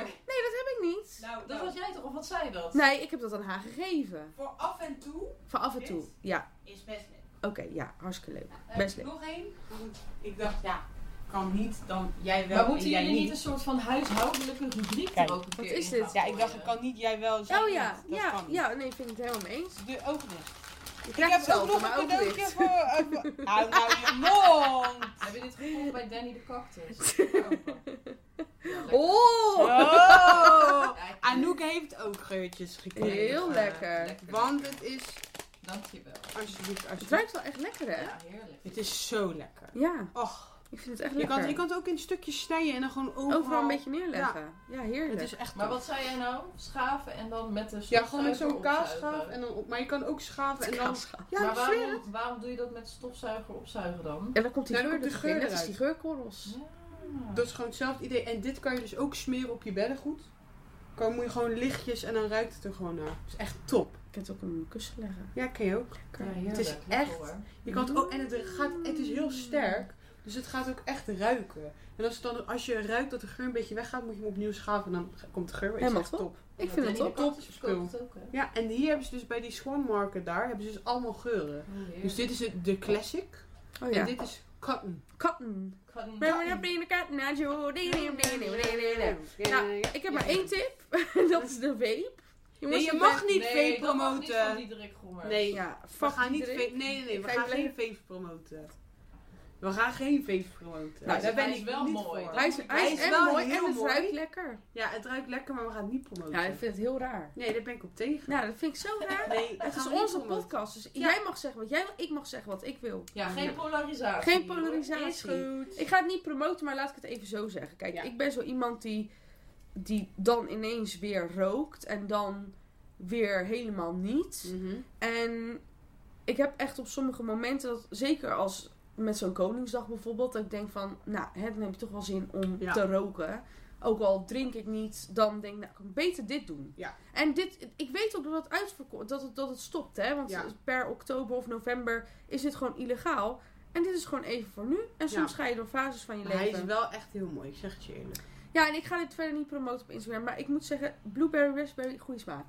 B: heb ik niet.
A: Nou,
C: Dat was jij toch? Of wat zei dat?
B: Nee, ik heb dat aan haar gegeven.
A: voor af en toe
B: Van af en toe.
A: Dit?
B: Ja,
A: is best leuk.
B: oké, ja, hartstikke leuk.
A: Nou,
B: Best
A: heb ik
B: leuk. Oh
A: Nog één. Maar goed, Ik dacht, ja, kan niet, dan jij wel.
C: Maar
A: en
C: moeten
A: jij
C: jullie niet een soort van huishoudelijke rubriek
A: nou, Kijk,
C: er ook een
B: wat
C: keer
B: is
C: in
B: dit?
C: gaan
A: Ja, ik dacht, ik
C: gooien?
A: kan niet, jij wel. zij
B: Oh
A: niet.
B: ja,
A: Dat
B: ja,
A: kan niet. Dus
B: ja, nee, vind ik het helemaal mee eens.
A: De ogen dicht.
B: Je
A: Ik
B: krijgt
A: heb ook
B: hetzelfde,
A: nog
B: maar
A: een
B: ook
A: cadeautje
B: licht.
A: voor... eh, voor- Hou nou je mond!
C: Heb je dit gevoeld bij Danny de
A: [LAUGHS]
C: Cactus? Ja, lekker.
B: Oh,
A: Oh!
C: Ja, ik-
A: [LAUGHS] Anouk heeft ook geurtjes gekregen.
B: Heel
C: eh,
B: lekker.
A: Want het is...
C: Dankjewel.
A: Alsjeblieft,
B: het
A: alsjeblieft.
B: ruikt wel echt lekker, hè?
C: Ja, heerlijk.
A: Het is zo lekker.
B: Ja,
A: Och,
B: ik vind het echt
A: je
B: lekker.
A: kan, je kan het ook in stukjes snijden en dan gewoon overal...
B: Overal een beetje neerleggen. Ja, heerlijk.
A: Het is echt
C: Maar
A: top.
C: wat zei jij nou? Schaven en dan met de
A: Ja, gewoon met zo'n
C: stofzuiger
A: kaasschaaf.
C: opzuigen.
A: En dan op, maar je kan ook schaven en dan... Ja,
C: maar
A: ik zweer het.
C: waarom, waarom doe je dat met stofzuiger opzuigen dan?
B: En dan komt die
A: Nou, dan komt
B: geur, er
A: de
B: toch in,
A: geur
B: net als die geurkorrels.
A: Dat is gewoon hetzelfde idee. En dit kan je dus ook smeren op je beddengoed. Kan, moet je gewoon lichtjes en dan ruikt het er gewoon naar. Dat is echt top.
B: Ik kan het ook op mijn kussen leggen.
A: Ja, ken je ook.
C: Ja, heerlijk.
A: Het is
C: Lekker
A: echt-
C: hoor.
A: Je kan het ook en het, gaat, het is heel sterk. Dus het gaat ook echt ruiken. En als, het dan, als je ruikt dat de geur een beetje weggaat, moet je hem opnieuw schaven. En dan komt de geur weer. Het is
B: Helemaal
A: echt
B: top.
A: top.
B: Ik vind het
C: Danny de
B: top.
C: Cactus
A: Top
C: verkoopt het ook, hè?
A: Ja, en hier hebben ze dus bij die Swan Market daar, hebben ze dus allemaal geuren.
C: Oh, heerlijk.
A: Dus dit is het- de classic.
B: Oh
A: En
B: ja.
A: dit is cotton.
B: Cotton.
C: Kan-
B: Nou, ik heb maar één tip. [LAUGHS] Dat is de vape.
A: Nee, je
B: ik
A: mag
B: ben-
A: niet
C: nee,
A: vape
C: dat mag niet
A: promoten.
C: van Diederik Gommers.
A: Nee,
B: Nou, Ja,
A: We
B: fuck
A: gaan niet
B: iedereen.
A: vape, nee, nee, nee, we
B: Vape
A: gaan geen vape promoten. We gaan geen vape promoten. daar
B: Nou,
C: hij
A: ben
C: is
A: ik
C: wel
A: niet
C: mooi.
A: voor.
B: Hij is, hij is,
A: Hij is
B: en
A: wel
B: mooi en
A: heel
B: het
A: mooi. Oh,
B: ruikt lekker.
A: Ja, het ruikt lekker, maar we gaan het niet promoten.
B: Ja, ik vind het heel raar.
A: Nee, daar ben ik op tegen.
B: Nou, dat vind ik zo raar.
A: nee, dat
B: Het is
A: gaan we niet
B: onze
A: promoten.
B: podcast, dus
A: Ja.
B: jij mag zeggen wat jij wil, ik mag zeggen wat ik wil.
C: Ja, geen polarisatie.
B: Geen
C: hoor.
A: Is
B: polarisatie.
A: goed.
B: Ik ga het niet promoten, maar laat ik het even zo zeggen. Kijk,
A: Ja.
B: ik ben zo iemand die, die dan ineens weer rookt en dan weer helemaal niet.
A: Mhm.
B: En ik heb echt op sommige momenten, dat, zeker als met zo'n Koningsdag bijvoorbeeld, dat ik denk van, nou, hè, dan heb je toch wel zin om
A: Ja.
B: te roken. Ook al drink ik niet, dan denk ik, nou, kan ik beter dit doen.
A: Ja.
B: En dit, ik weet ook dat het, uitverko- dat het, dat het stopt, hè. Want
A: Ja.
B: per oktober of november is dit gewoon illegaal. En dit is gewoon even voor nu. En soms
A: Ja.
B: ga je door fases van je
A: Maar
B: leven.
A: Hij is wel echt heel mooi, ik zeg het je eerlijk.
B: Ja, en ik ga dit verder niet promoten op Instagram. Maar ik moet zeggen, blueberry raspberry, goede
A: [LAUGHS]
B: smaak.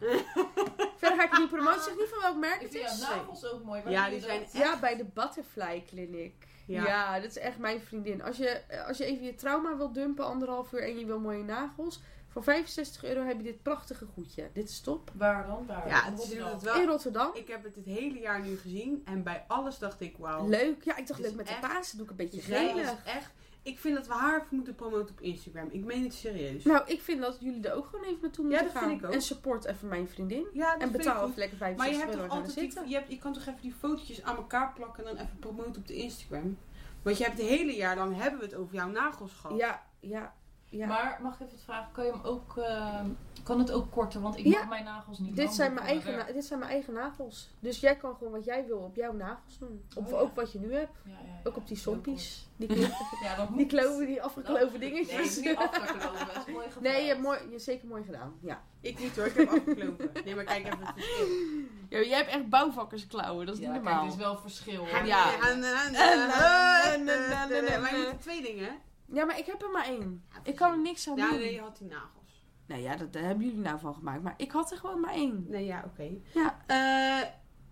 B: verder ga ik het niet promoten. Zeg niet van welk merk
C: Ik
B: het
C: vind jouw
B: is.
C: nagels ook mooi. Waar
A: Ja,
C: doe je
A: die zijn
C: dat?
B: Ja, bij de Butterfly Clinic. Ja.
A: Ja.
B: dat is echt mijn vriendin. Als je, als je even je trauma wilt dumpen, anderhalf uur, en je wil mooie nagels. Voor 65 euro heb je dit prachtige goedje. Dit is top.
C: Waar dan? Waar?
A: Ja,
C: In
A: het is
C: Rotterdam.
A: het
B: In
A: wel.
B: Rotterdam.
A: Ik heb het het hele jaar nu gezien en bij alles dacht ik, wauw.
B: Leuk. Ja, ik dacht
A: Dit
B: leuk
A: is
B: met de
A: echt-
B: Pasen doe ik een beetje
A: Zij is
B: gelig.
A: echt. Ik vind dat we haar even moeten promoten op Instagram. Ik meen het serieus.
B: Nou, ik vind dat jullie er ook gewoon even naartoe moeten
A: dat
B: gaan.
A: vind ik ook.
B: En support even mijn vriendin.
A: ja, dat
B: En
A: vind ik
B: betaal
A: goed.
B: even lekker
A: Maar je
B: 65
A: hebt
B: euro
A: toch
B: gaan
A: altijd
B: zitten.
A: die, je, hebt, je kan toch even die fotootjes aan elkaar plakken en dan even promoten op de Instagram. Want je hebt het hele jaar lang hebben we het over jouw nagels gehad.
B: Ja, ja. Ja.
C: Maar mag ik even wat vragen? Kan je hem ook, ehm, kan het ook korten? Want ik
B: Ja.
C: mag mijn nagels niet
B: Dit
C: lang
B: zijn,
C: doen
B: mijn
C: voor
B: eigen, na-
C: werk.
B: dit zijn mijn eigen nagels. Dus jij kan gewoon wat jij wil op jouw nagels doen. Of
C: Oh, ja.
B: ook wat je nu hebt.
C: Ja, ja, ja.
B: Ook op die
C: Heel
B: sompies. Die,
A: [LAUGHS]
B: klo-
C: kort. Ja, dat moet.
B: [LAUGHS] die, kloven, die afgekloven
C: Nee, het is
B: dingetjes. [LAUGHS]
C: niet afgekloven. Dat is mooi gedaan.
B: Nee, je hebt, mooi, je hebt zeker mooi gedaan. Ja.
A: Ik niet hoor, ik heb [LAUGHS] afgeklopen. Nee, maar kijk even het verschil.
B: jij hebt echt bouwvakkersklauwen. Dat
C: Ja, kijk,
A: dus
C: dit is wel verschil. hoor.
B: Ja. [LAUGHS]
A: Maar je moet twee dingen.
B: Ja, maar ik heb er maar één. Ik kan er niks aan
A: Ja,
B: doen.
A: nee, je had die nagels.
B: Nou ja, dat, daar hebben jullie nou van gemaakt. Maar ik had er gewoon maar één.
A: Nee, ja, oké.
B: Ja.
A: Eh,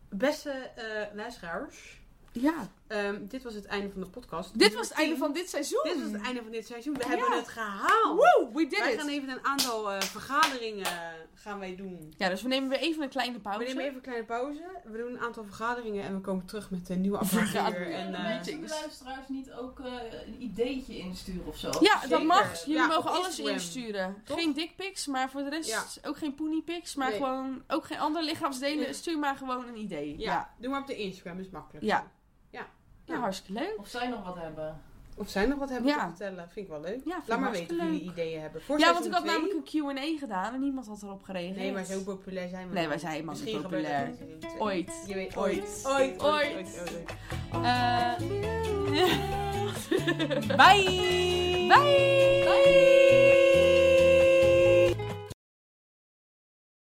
A: beste eh, luisteraars,
B: Ja.
A: ehm, dit was het einde van de podcast.
B: Dit was het einde van dit seizoen.
A: Dit was het einde van dit seizoen. We
B: Ja.
A: hebben het gehaald.
B: Woe, we did
A: wij
B: it.
A: gaan even een aantal eh, vergaderingen eh, gaan wij doen.
B: Ja, dus we nemen weer even een kleine pauze.
A: We nemen even een kleine pauze. We doen een aantal vergaderingen en we komen terug met een nieuwe aflevering.
B: Vergaderingen.
A: En,
C: Kunnen
A: eh,
C: mensen, de luisteraars niet ook eh, een ideetje insturen of zo?
B: Ja, dat
A: Zeker.
B: mag. Jullie
A: Ja,
B: mogen
A: op
B: alles
A: Instagram.
B: insturen.
A: Toch?
B: Geen dickpics, maar voor de rest
A: Ja.
B: ook geen poeniepics. Maar
A: Nee.
B: gewoon ook geen andere lichaamsdelen.
A: Nee.
B: Stuur maar gewoon een idee.
A: ja,
B: Ja,
A: doe maar op de Instagram, is makkelijk.
B: Ja.
A: ja.
B: ja hartstikke leuk.
C: Of zij nog wat hebben.
A: Of zij nog wat hebben
B: Ja.
A: te vertellen? Vind ik wel leuk.
B: Ja, vind ik
A: Laat maar
B: hartstikke
A: weten of
B: leuk.
A: jullie ideeën hebben. Voor
B: Ja, want ik
A: seizoen
B: had
A: twee-
B: namelijk een Q&A gedaan en niemand had erop gereageerd.
A: Nee, maar zo populair zijn we
B: Nee,
A: nog
B: wij zijn helemaal
A: Misschien
B: niet
A: gebeurt dat
B: populair.
A: in seizoen twee.
B: Ooit.
A: Je weet
B: Ooit.
A: ooit. Ooit.
B: Ooit.
A: ooit.
B: [LAUGHS] Eh, Bye! Bye! Bye!